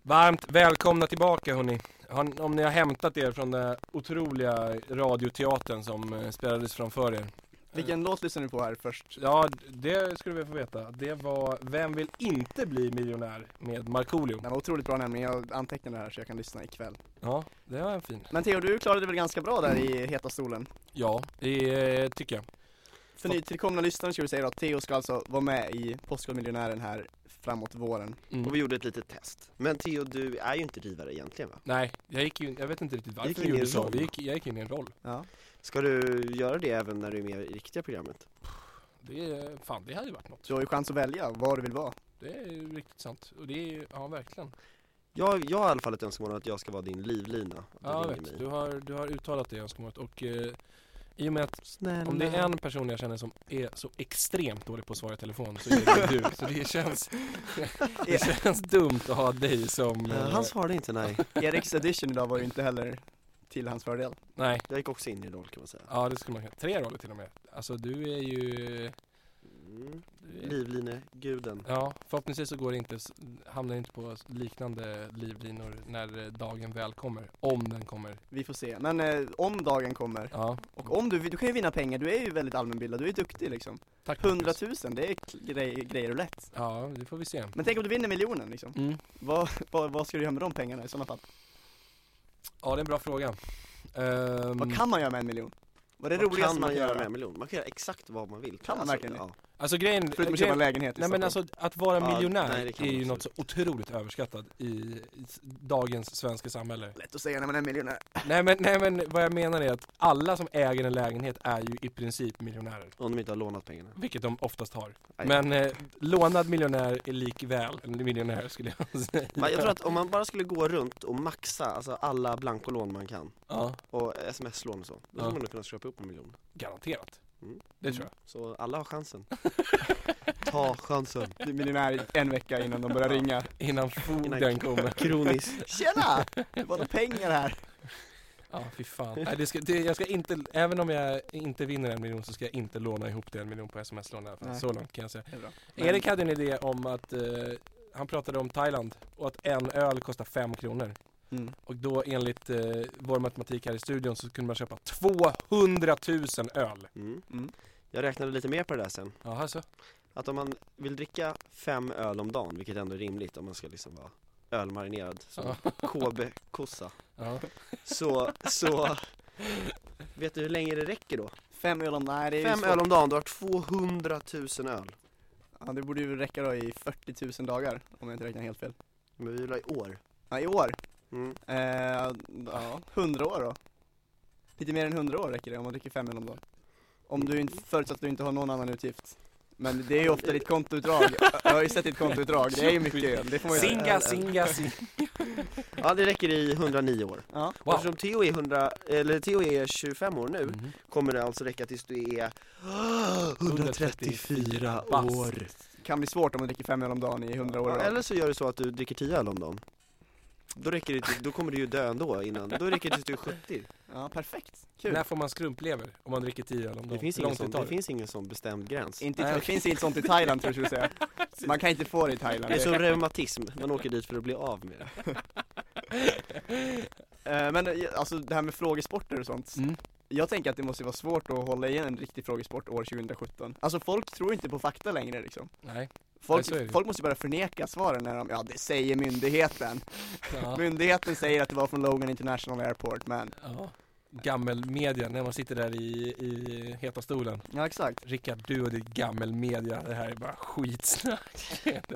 A: Varmt välkomna tillbaka hörni. Har- Om ni har hämtat er från den otroliga radioteatern som eh, spelades framför er.
B: Vilken låt lyssnar ni på här först?
A: Ja, det skulle vi få veta. Det var Vem vill inte bli miljonär med Markoolio.
B: Den var otroligt bra nämligen, jag antecknade det här så jag kan lyssna ikväll.
A: Ja, det var en fin.
B: Men Theo, du klarade det väl ganska bra där i heta stolen?
A: Ja, det eh, tycker jag.
B: För nytillkomna lyssnare ska vi säga då att Theo ska alltså vara med i Postkodmiljonären här framåt våren.
A: Mm.
C: Och vi gjorde ett litet test. Men Theo, du är ju inte rivare egentligen va?
A: Nej, jag gick ju, jag vet inte riktigt
C: Gick
A: varför
C: in
A: jag
C: i
A: gjorde
C: en
A: så.
C: roll.
A: Vi gick, jag gick in i en roll.
B: Ja.
C: Ska du göra det även när du är med i riktiga programmet?
A: Det, är- fan, det hade ju varit något.
B: Du har ju chans att välja vad du vill vara.
A: Det är ju riktigt sant. Och det är ju, ja verkligen.
C: Jag, jag har i alla fall ett önskemål om att jag ska vara din livlina. Att du
A: Ja, jag
C: ringer
A: vet.
C: mig.
A: Du har, du har uttalat det önskemålet och eh, i och med att
C: Snälla.
A: om det är
B: eh,
A: en person jag känner som är så extremt dålig på att svara i telefon så är det du. Så det känns, det känns dumt att ha dig som...
C: Eh,
A: eh,
C: Han svarade inte nej.
B: Eriks edition idag var ju inte heller till hans fördel.
A: Nej,
C: Jag gick också in i roll kan man säga.
A: ja det skulle man kunna. Tre roller till och med. Alltså du är ju...
C: Mm.
A: du är-
C: Livlineguden.
A: Ja, förhoppningsvis så går det inte, s- hamnar inte på liknande livlinor när eh, dagen väl kommer. Om den kommer.
B: Vi får se. Men eh, om dagen kommer,
A: Ja.
B: och om du, vill- du kan ju vinna pengar, du är ju väldigt allmänbildad, du är duktig liksom.
A: Tack
B: 100
A: Marcus.
B: 000, det är kl- grej, grejer och lätt.
A: Ja, det får vi se.
B: Men tänk om du vinner miljonen liksom.
A: Mm.
B: Vad, vad, vad ska du göra med de pengarna i sådana fall?
A: Ja, det är en bra fråga. Ehm,
B: Vad kan man göra med en miljon? Vad är det
C: Vad
B: roligaste man
C: kan man
B: kan
C: göra
B: göra?
C: med en miljon? Man kan göra exakt vad man vill.
B: Kan man verkligen
C: ja.
A: Alltså grejen...
B: Förutom att köpa
A: grejen
B: en lägenhet i
A: Nej men
B: Stockholm.
A: alltså att vara
C: Ja,
A: miljonär
C: nej, det kan
A: är
C: man
A: ju något så otroligt överskattat i, i s- dagens svenska samhälle.
B: Lätt att säga när man är miljonär.
A: nej, men, nej men vad jag menar är att alla som äger en lägenhet är ju i princip miljonärer.
C: Om de inte har lånat pengarna.
A: Vilket de oftast har.
C: Nej.
A: Men eh, lånad miljonär är likväl en miljonär skulle jag säga.
C: Men jag tror att om man bara skulle gå runt och maxa alltså alla blankolån man kan
A: Ja,
C: och sms-lån och så, då skulle
A: Ja.
C: man nog kunna köpa upp en miljon.
A: garanterat.
C: Mm.
A: Det tror jag.
C: Så alla har chansen. Ta chansen.
B: Du är miljonär i en vecka innan de börjar ringa.
A: Innan fogden kommer.
C: Kroniskt.
B: Tjena! Vad har pengar här?
A: Ja, fy fan. Nej, det ska, det, jag ska inte, även om jag inte vinner en miljon så ska jag inte låna ihop det en miljon på sms-lån i alla fall.
B: Nej.
A: Så långt kan jag säga.
B: Det är bra. Men-
A: Erik hade en idé om att eh, han pratade om Thailand och att en öl kostar 5 kronor.
B: Mm.
A: Och då enligt eh, vår matematik här i studion så kunde man köpa 200 000 öl.
C: Mm.
B: Mm.
C: Jag räknade lite mer på det där sen.
A: Ja, alltså.
C: Att om man vill dricka fem öl om dagen, vilket ändå är rimligt om man ska liksom vara ölmarinerad som KB-kossa,
A: Ja.
C: så, så vet du hur länge det räcker då?
B: Fem öl om, nej det är ju
C: Fem
B: svårt.
C: öl om dagen, du har 200 000 öl.
B: Ja det borde ju räcka då i 40 000 dagar, om jag inte räknar helt fel.
C: Men vi vill ha i år.
B: Ja i år,
C: Mm.
B: eh, ja, 100 år då. Lite mer än 100 år räcker det om man dricker fem öl om dagen. Om du inte, förutsatt att du inte har någon annan utgift. Men det är ju ofta ditt kontoutdrag, jag har ju sett ditt kontoutdrag, det är ju mycket öl, det får man ju
A: Singa,
B: säga.
A: singa, singa.
C: Ja, det räcker i 109 år.
B: Ja,
A: Wow.
C: Eftersom Theo är, 100, eller Theo är 25 år nu,
A: Mm.
C: kommer det alltså räcka tills du är 134
A: Bast.
C: år.
B: kan bli svårt om man dricker fem öl om dagen i 100 år.
C: Ja,
B: då.
C: eller så gör du så att du dricker 10 öl om dagen. Då, räcker det, till- då kommer du ju dö ändå innan, då räcker det tills du är 70.
B: Ja, perfekt. Kul.
A: När får man skrumplever om man dricker 10 öl om dagen?
C: Det finns,
A: Hur
C: ingen
A: lång tid
C: sån,
A: tar
C: det finns ingen sån bestämd gräns.
B: Inte, i
A: Nej,
B: Tha- det
A: okej.
B: finns inte sånt i Thailand tror jag skulle säga. Man kan inte få det i Thailand.
C: Det är som reumatism, man åker dit för att bli av med det.
B: Eh, Men eh, alltså det här med frågesporter och sånt.
A: Mm.
B: Jag tänker att det måste vara svårt att hålla i en riktig frågesport år 2017. Alltså folk tror inte på fakta längre liksom.
A: Nej. Nej,
B: Folk,
A: så är det ju.
B: folk måste börja förneka svaren när de, ja det säger myndigheten.
A: Ja.
B: Myndigheten säger att det var från Logan International Airport men.
A: ja. Gammelmedia, när man sitter där i, i heta stolen.
B: Ja exakt.
A: Rickard, du och ditt gammelmedia, det här är bara skitsnack.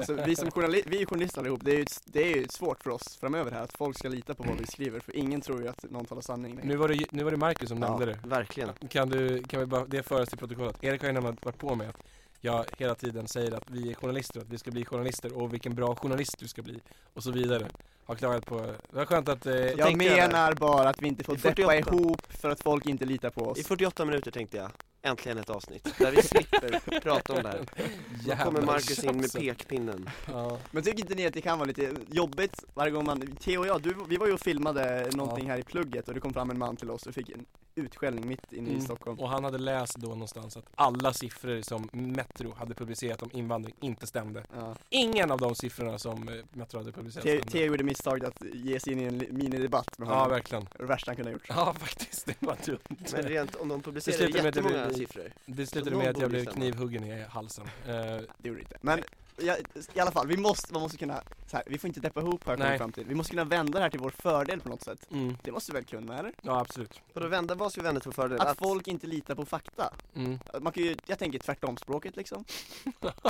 B: Så vi som journali- vi är journalister allihop, det är, ju, ett- det är ju svårt för oss framöver här att folk ska lita på vad vi skriver för ingen tror ju att någon talar sanning längre.
A: Nu var det, nu var det Marcus som nämnde det.
C: verkligen.
A: Kan du, kan vi bara, det föras till protokollet. Erik har ju nämligen varit på mig att jag hela tiden säger att vi är journalister och att vi ska bli journalister och vilken bra journalist du ska bli och så vidare. Har klagat på, det var skönt att, eh,
C: Ja.
B: Jag
C: tänkte jag
B: menar bara att vi inte får
C: I 48.
B: deppa ihop för att folk inte litar på oss.
C: I 48 minuter tänkte jag, äntligen ett avsnitt där vi slipper prata om det här. Då kommer
A: jävla
C: Marcus in med
A: tjafsen.
C: pekpinnen.
A: Ja,
B: Men tycker inte ni att det kan vara lite jobbigt varje gång man, Theo och jag, du, vi var ju och filmade någonting här i plugget och det kom fram en man till oss och fick en utskällning mitt inne i
A: Mm.
B: Stockholm
A: och han hade läst då någonstans att alla siffror som Metro hade publicerat om invandring inte stämde.
B: ja.
A: Ingen av de siffrorna som eh, Metro hade publicerat
B: Theo,
A: stämde.
B: Theo gjorde misstaget att ge sig in i en li- minidebatt med
A: Ja,
B: honom,
A: verkligen.
B: det värsta han kunde ha gjort
A: Ja, faktiskt. Det var dumt.
C: Men rent om de publicerar
A: Det slutar med att det blir-
C: jättemånga siffror.
A: Det slutade
C: någon
A: med att jag
C: borde
A: blev
C: stämma.
A: knivhuggen i halsen. Eh,
B: Det gjorde det inte, men ja, i alla fall, vi måste, man måste kunna, så här, vi får inte deppa ihop här
A: Nej.
B: kommer fram till, vi måste kunna vända det här till vår fördel på något sätt
A: mm,
B: Det måste vi väl kunna eller?
A: ja, absolut.
C: Och då vände, vad ska vi vända till fördel?
B: Att folk inte litar på fakta
A: Mm.
B: Man kan ju, jag tänker tvärtom språket liksom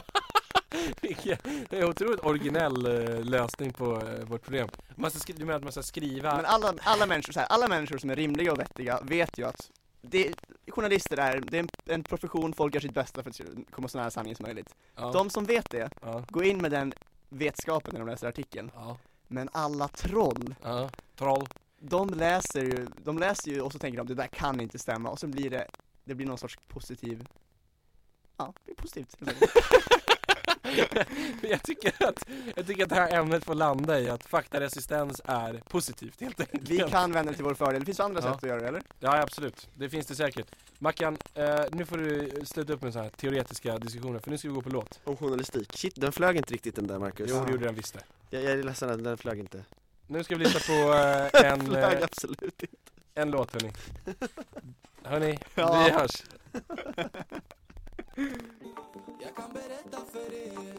A: Vilken- Det är en otroligt originell eh, lösning på eh, vårt problem. Man ska, skri- du menar att man ska skriva?
B: Men alla, alla, människor, så här, alla människor som är rimliga och vettiga vet ju att det, journalister är, det är en, en profession, folk gör sitt bästa för att komma så nära sanningen som möjligt.
A: ja,
B: De som vet det,
A: ja,
B: gå in med den vetskapen när de läser artikeln.
A: ja,
B: Men alla troll,
A: ja, troll.
B: de läser ju, de läser ju och så tänker de det där kan inte stämma och så blir det, det blir någon sorts positiv Ja, det är positivt. helt enkelt.
A: Men jag, tycker att, jag tycker att det här ämnet får landa i att faktaresistens är positivt helt enkelt.
B: Vi kan vända det till vår fördel. Det finns andra
A: Ja.
B: sätt att göra det, eller?
A: Ja, absolut. Det finns det säkert. Mackan, eh, nu får du sluta upp med sådana här teoretiska diskussioner för nu ska vi gå på låt.
C: Om journalistik. Shit, den flög inte riktigt den där Marcus.
A: Jo, det gjorde den visst det.
C: Jag, jag är ledsen, den- den flög inte.
A: Nu ska vi lyssna på eh,
C: Den
A: en,
C: flög
A: eh,
C: absolut inte.
A: en låt hörni. Hörni,
B: Ja.
A: vi hörs.
E: Jag kan berätta för er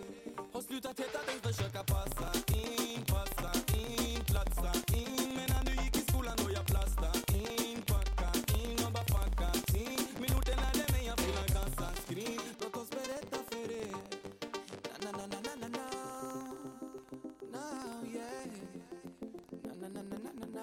E: Har slutat heta dig, försöka passa in Passa in, platsa in Medan du gick i skolan då jag plasta in Packa in och bara packa in Min ort den lärde mig att fylla kassan skrin Låt oss berätta för er Na na na na na na na Now yeah Na na na na na na na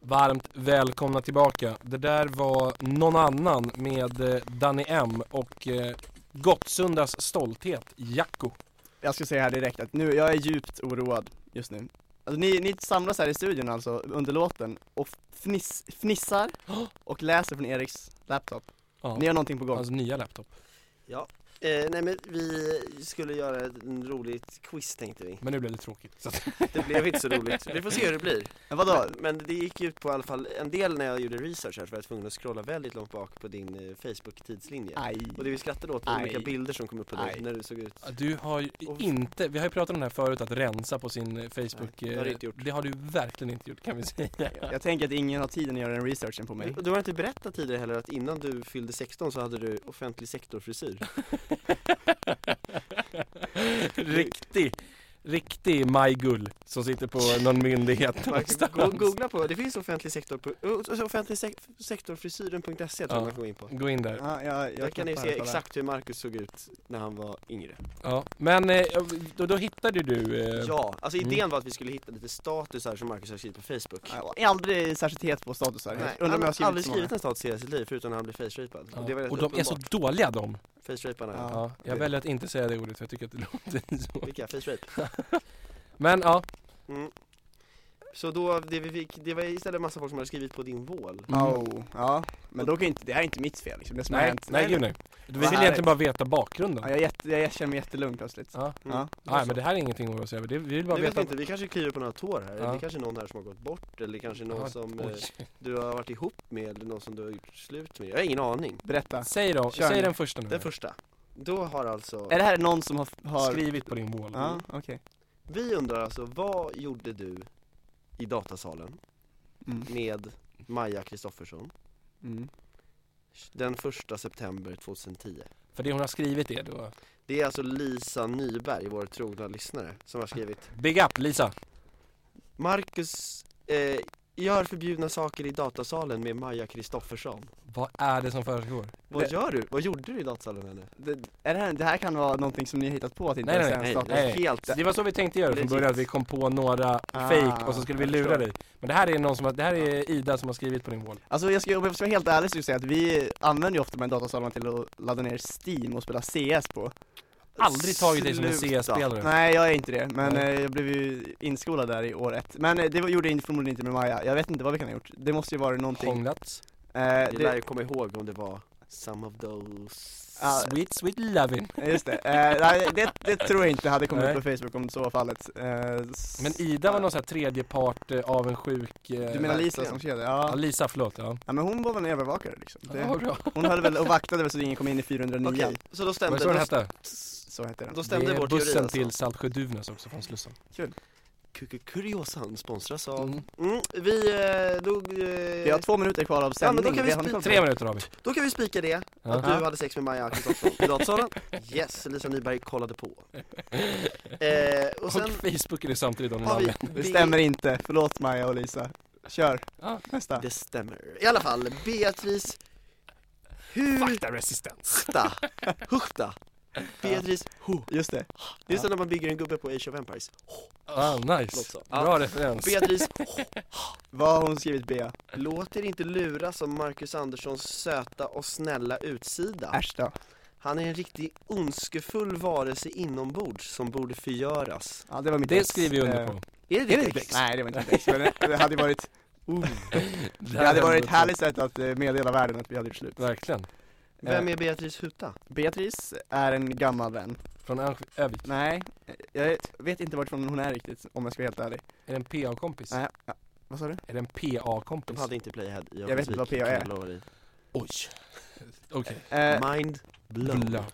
A: Varmt välkomna tillbaka. Det där var någon annan med eh, Danny M och eh, Gottsundas stolthet, Jacko.
B: Jag ska säga här direkt att nu, jag är djupt oroad just nu. Alltså, ni, ni samlas här i studion alltså under låten och fniss, fnissar och läser från Eriks laptop.
A: Ja,
B: Ni har någonting på gång.
C: Alltså,
A: hans nya laptop.
C: Ja. Eh, nej men vi skulle göra en roligt quiz tänkte vi.
A: Men nu blev det tråkigt. Så att,
C: Det blev inte så roligt. Vi får se hur det blir.
B: Men vadå?
C: Men, men det gick ut på i alla fall, en del när jag gjorde research här så var jag tvungen att scrolla väldigt långt bak på din eh, Facebook-tidslinje.
B: Aj.
C: Och det vi skrattade åt var
B: Aj.
C: olika bilder som kom upp på dig
B: Aj.
C: när du såg ut.
A: ja, du har ju
C: Och-
A: inte, vi har ju pratat om det här förut, att rensa på sin eh, Facebook.
C: Nej, det har du
A: eh,
C: inte gjort.
A: Det har du verkligen inte gjort kan vi säga.
B: Jag tänker att ingen har tiden att göra den researchen på mig.
C: Och Du har inte berättat tidigare heller att innan du fyllde 16 så hade du offentlig sektor-frisyr.
A: riktig, riktig majgull som sitter på någon myndighet
C: Man kan gå-
A: någonstans.
C: Googla på, det finns offentlig sektor på, ö, offentlig sek- sektorfrisyren.se tror
A: Ja. Mm.
C: jag man kan gå in på.
A: Gå in där.
B: Ja, jag,
C: Där
B: jag
C: kan ni
B: knappar
C: se
B: kolla.
C: exakt hur Marcus såg ut när han var yngre.
A: Ja, men eh, då, då hittade du... eh,
C: Ja, alltså
A: Mm.
C: idén var att vi skulle hitta lite statusar som Marcus har skrivit på Facebook.
B: Ja, Jag är aldrig särskilt het på statusar. Jag
C: Nej,
B: Undrar om jag
C: han
B: har
C: har
B: skrivit
C: aldrig
B: så många.
C: skrivit en status i hela sitt liv förutom när han blev face-rapad.
A: Ja.
C: Och det var rätt
A: Och de alltså- är så
C: uppenbart.
A: dåliga de.
C: Face-raparna,
B: Ja.
A: Ja, jag
C: det-
A: väljer att inte säga det ordet för jag tycker att det låter så.
C: vilka? Face-rape?
A: Men ja,
C: Mm. Så då, det, vi fick, det var istället massa folk som hade skrivit på din vål.
B: Oh, ja, men då kan ju inte, det här är inte mitt fel liksom, det som har
A: Mm. Nej,
B: hänt
A: nej gud nej. Vi vill
B: härligt.
A: egentligen bara Mm. veta
B: ja,
A: bakgrunden.
B: jag, är jätte, jag känner mig jättelugn plötsligt
A: Ja.
B: Ja,
A: Nej men det här är ingenting att oroa sig över, Det- vi vill bara
C: Det vet vi
A: veta.
C: inte, vi kanske kliver på några tår här.
A: Ja.
C: Det kanske är någon här som har gått bort eller kanske någon
A: Ja,
C: som eh,
A: Oj.
C: du har varit ihop med eller någon som du har gjort slut med. Jag har ingen aning.
B: berätta
A: Säg då,
B: Kör
A: säg
B: nu.
A: den första nu.
C: Den första. Då har alltså,
B: Är det här någon som har, har...
A: Skrivit på din mål.
B: Ja, okej
C: vi undrar alltså, vad gjorde du i datasalen
B: mm.
C: med Maja Kristoffersson
B: Mm.
C: den första september 2010?
A: För det hon har skrivit är då,
C: Det är alltså Lisa Nyberg, vår trogna lyssnare, som har skrivit
A: big up Lisa!
C: Marcus eh, gör förbjudna saker i datasalen med Maja Kristoffersson.
A: Vad är det som försiggår?
C: Vad
B: Det-
C: gör du? Vad gjorde du i datasalen henne?
B: Det, är det, här, det här kan vara någonting som ni har hittat på att inte
A: Nej,
B: ens
A: nej,
B: en
C: nej,
B: status.
A: nej.
C: Helt
A: Det var så vi tänkte göra från
C: Legit.
A: början, att vi kom på några
B: Ah,
A: fake och så skulle vi
B: jag
A: lura
B: förstår.
A: dig Men det här är någon som, har- det här är Ida som har skrivit på din wall
B: Alltså jag ska, om jag ska vara helt ärlig så ska jag säga att vi använder ju ofta de här datasalarna till att ladda ner Steam och spela CS på
A: Aldrig tagit dig som en
C: Sluta.
A: CS-spelare
B: Nej jag är inte det, men
A: Nej.
B: eh, jag blev ju inskolad där i år ett Men eh, det var- gjorde jag förmodligen inte med Maja, jag vet inte vad vi kan ha gjort Det måste ju vara någonting
A: Hånglats,
B: eh,
C: Vi lär
B: det,
C: ju komma ihåg om det var Some of those
B: Ja.
A: sweet sweet lovin'
B: Just det, eh, nej, det, det tror jag inte hade kommit
A: Nej.
B: upp på Facebook om så var fallet eh, s-
A: Men Ida var någon sån här tredjepart eh, av en sjuk eh,
B: Du menar Lisa
C: verkligen.
B: som skrev det?
A: Ja,
B: Ja.
A: Lisa, förlåt ja,
B: ja men hon var väl en övervakare liksom
A: ja
B: det,
A: bra.
B: Hon höll väl och vaktade väl så att ingen kom in i 409
C: Okej, så då
A: Var
C: stämde,
A: det så den
C: då,
A: hette?
B: Så hette den
C: då stämde
A: det är
C: vår teori
A: bussen
C: alltså.
A: till Saltsjö-Duvnäs också från Slussen
C: Kuku Kuriosan sponsras av
A: Mm.
C: mm. Vi, eh, då, eh,
B: Vi har två minuter kvar av
C: Ja, men
B: sändning
C: då kan vi
B: har ni
C: spri-
B: koll på
A: Tre minuter har vi
C: då kan vi spika det,
A: ja.
C: att du hade sex med Maja Kristoffersson i datasalen Yes, Lisa Nyberg kollade på eh,
A: Och
C: Och sen
A: Facebook är det samtidigt om
C: har vi
B: Det stämmer inte, förlåt Maja och Lisa Kör,
A: Ja.
B: nästa
C: Det stämmer. I alla fall, Beatrice
A: Faktaresistens
C: Hufta. Hufta. Beatrice Hu.
B: Just det,
C: Det är så när man bygger en gubbe på Age of Empires.
A: Ah
C: Låt
A: nice,
C: så. Ja.
A: bra referens
C: Beatrice Hu.
B: vad har hon skrivit Bea?
C: Låt er inte luras som Marcus Anderssons söta och snälla utsida.
B: Äsch då
C: Han är en riktig ondskefull varelse inombords som borde förgöras.
B: Ja det var mitt
A: Det
B: ex.
A: skriver vi
C: Eh,
A: under på
C: Är det ditt ex?
B: Nej det var inte mitt ex, men det- det hade ju varit Det hade varit ett härligt sätt att eh, meddela världen att vi hade gjort slut Eh,
A: Verkligen
C: Vem är Beatrice Huta?
B: Beatrice är en gammal vän
A: Från Örnsk- Övik
B: Nej, jag vet inte varifrån hon är riktigt om jag ska vara helt ärlig
A: Är det en PA-kompis?
B: Nej, ja. vad sa du?
A: Är det en
C: De
A: PA-kompis?
C: hade inte Playhead i
B: Jag vet inte vad PA är.
C: Örnsköldsvik,
A: Oj Okej
B: Eh,
C: kan jag lova dig. Mind blown.
A: Blown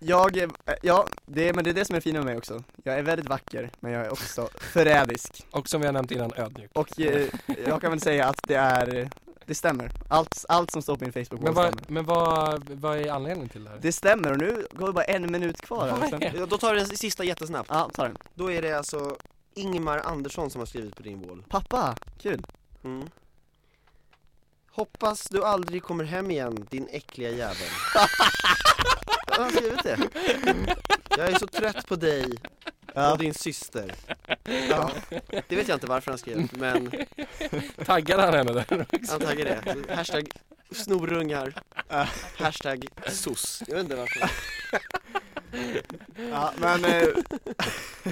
B: jag, är- eh, ja, det, men det är det som är fint med mig också Jag är väldigt vacker, men jag är också förrädisk
A: Och som vi har nämnt innan, ödmjuk
B: Och eh, jag kan väl säga att det är, det stämmer. Allt, allt som står på min facebook
A: Men,
B: stämmer.
A: vad, men vad, vad är anledningen till det här?
B: Det stämmer och nu går det bara en minut kvar här.
A: Vad
B: Sen,
A: är det?
C: Ja, Eh, Då tar vi den sista jättesnabbt.
B: ja, ta den.
C: Då är det alltså Ingmar Andersson som har skrivit på din wall.
B: Pappa, kul.
C: Mm. Hoppas du aldrig kommer hem igen, din äckliga jävel. Jag har skrivit det. Jag är så trött på dig
B: Ja.
C: och din syster. Ja, det vet jag inte varför han skrev, men
A: Taggade han henne där?
C: antagligen det. Hashtag snorungar,
B: Ja.
C: hashtag sos. Jag vet inte varför.
B: ja, men eh,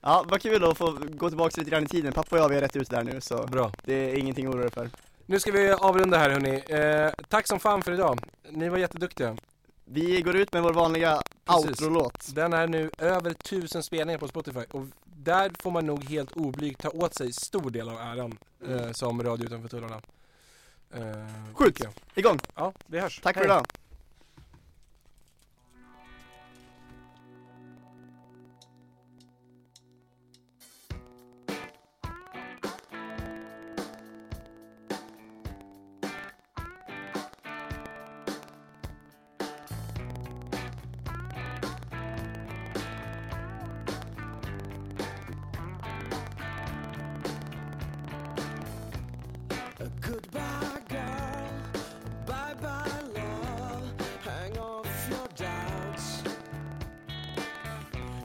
B: Ja, vad kul att få gå tillbaka lite grann i tiden. Pappa och jag vi har rätt ut där nu så
A: Bra
B: det är ingenting att oroa dig för.
A: Nu ska vi avrunda här hörni eh, Tack som fan för idag Ni var jätteduktiga
B: Vi går ut med vår vanliga
A: Precis.
B: outro-låt.
A: Den är nu över tusen spelningar på Spotify och där får man nog helt oblygt ta åt sig stor del av äran eh, som Radio Utanför Tullarna. Eh,
B: Sjukt.
A: tycker jag.
B: Igång!
A: Ja, vi hörs.
B: Tack för
A: Hej.
B: idag!
E: Goodbye, girl. Bye bye, love. Hang off your doubts.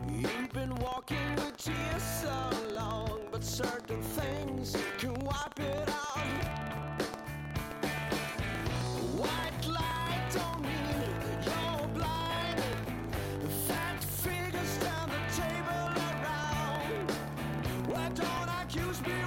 E: You've been walking with tears so long, but certain things can wipe it out. White light don't mean you're blind. Fat figures down the table around. Why don't I
D: ljus
E: Uh-huh.
D: blir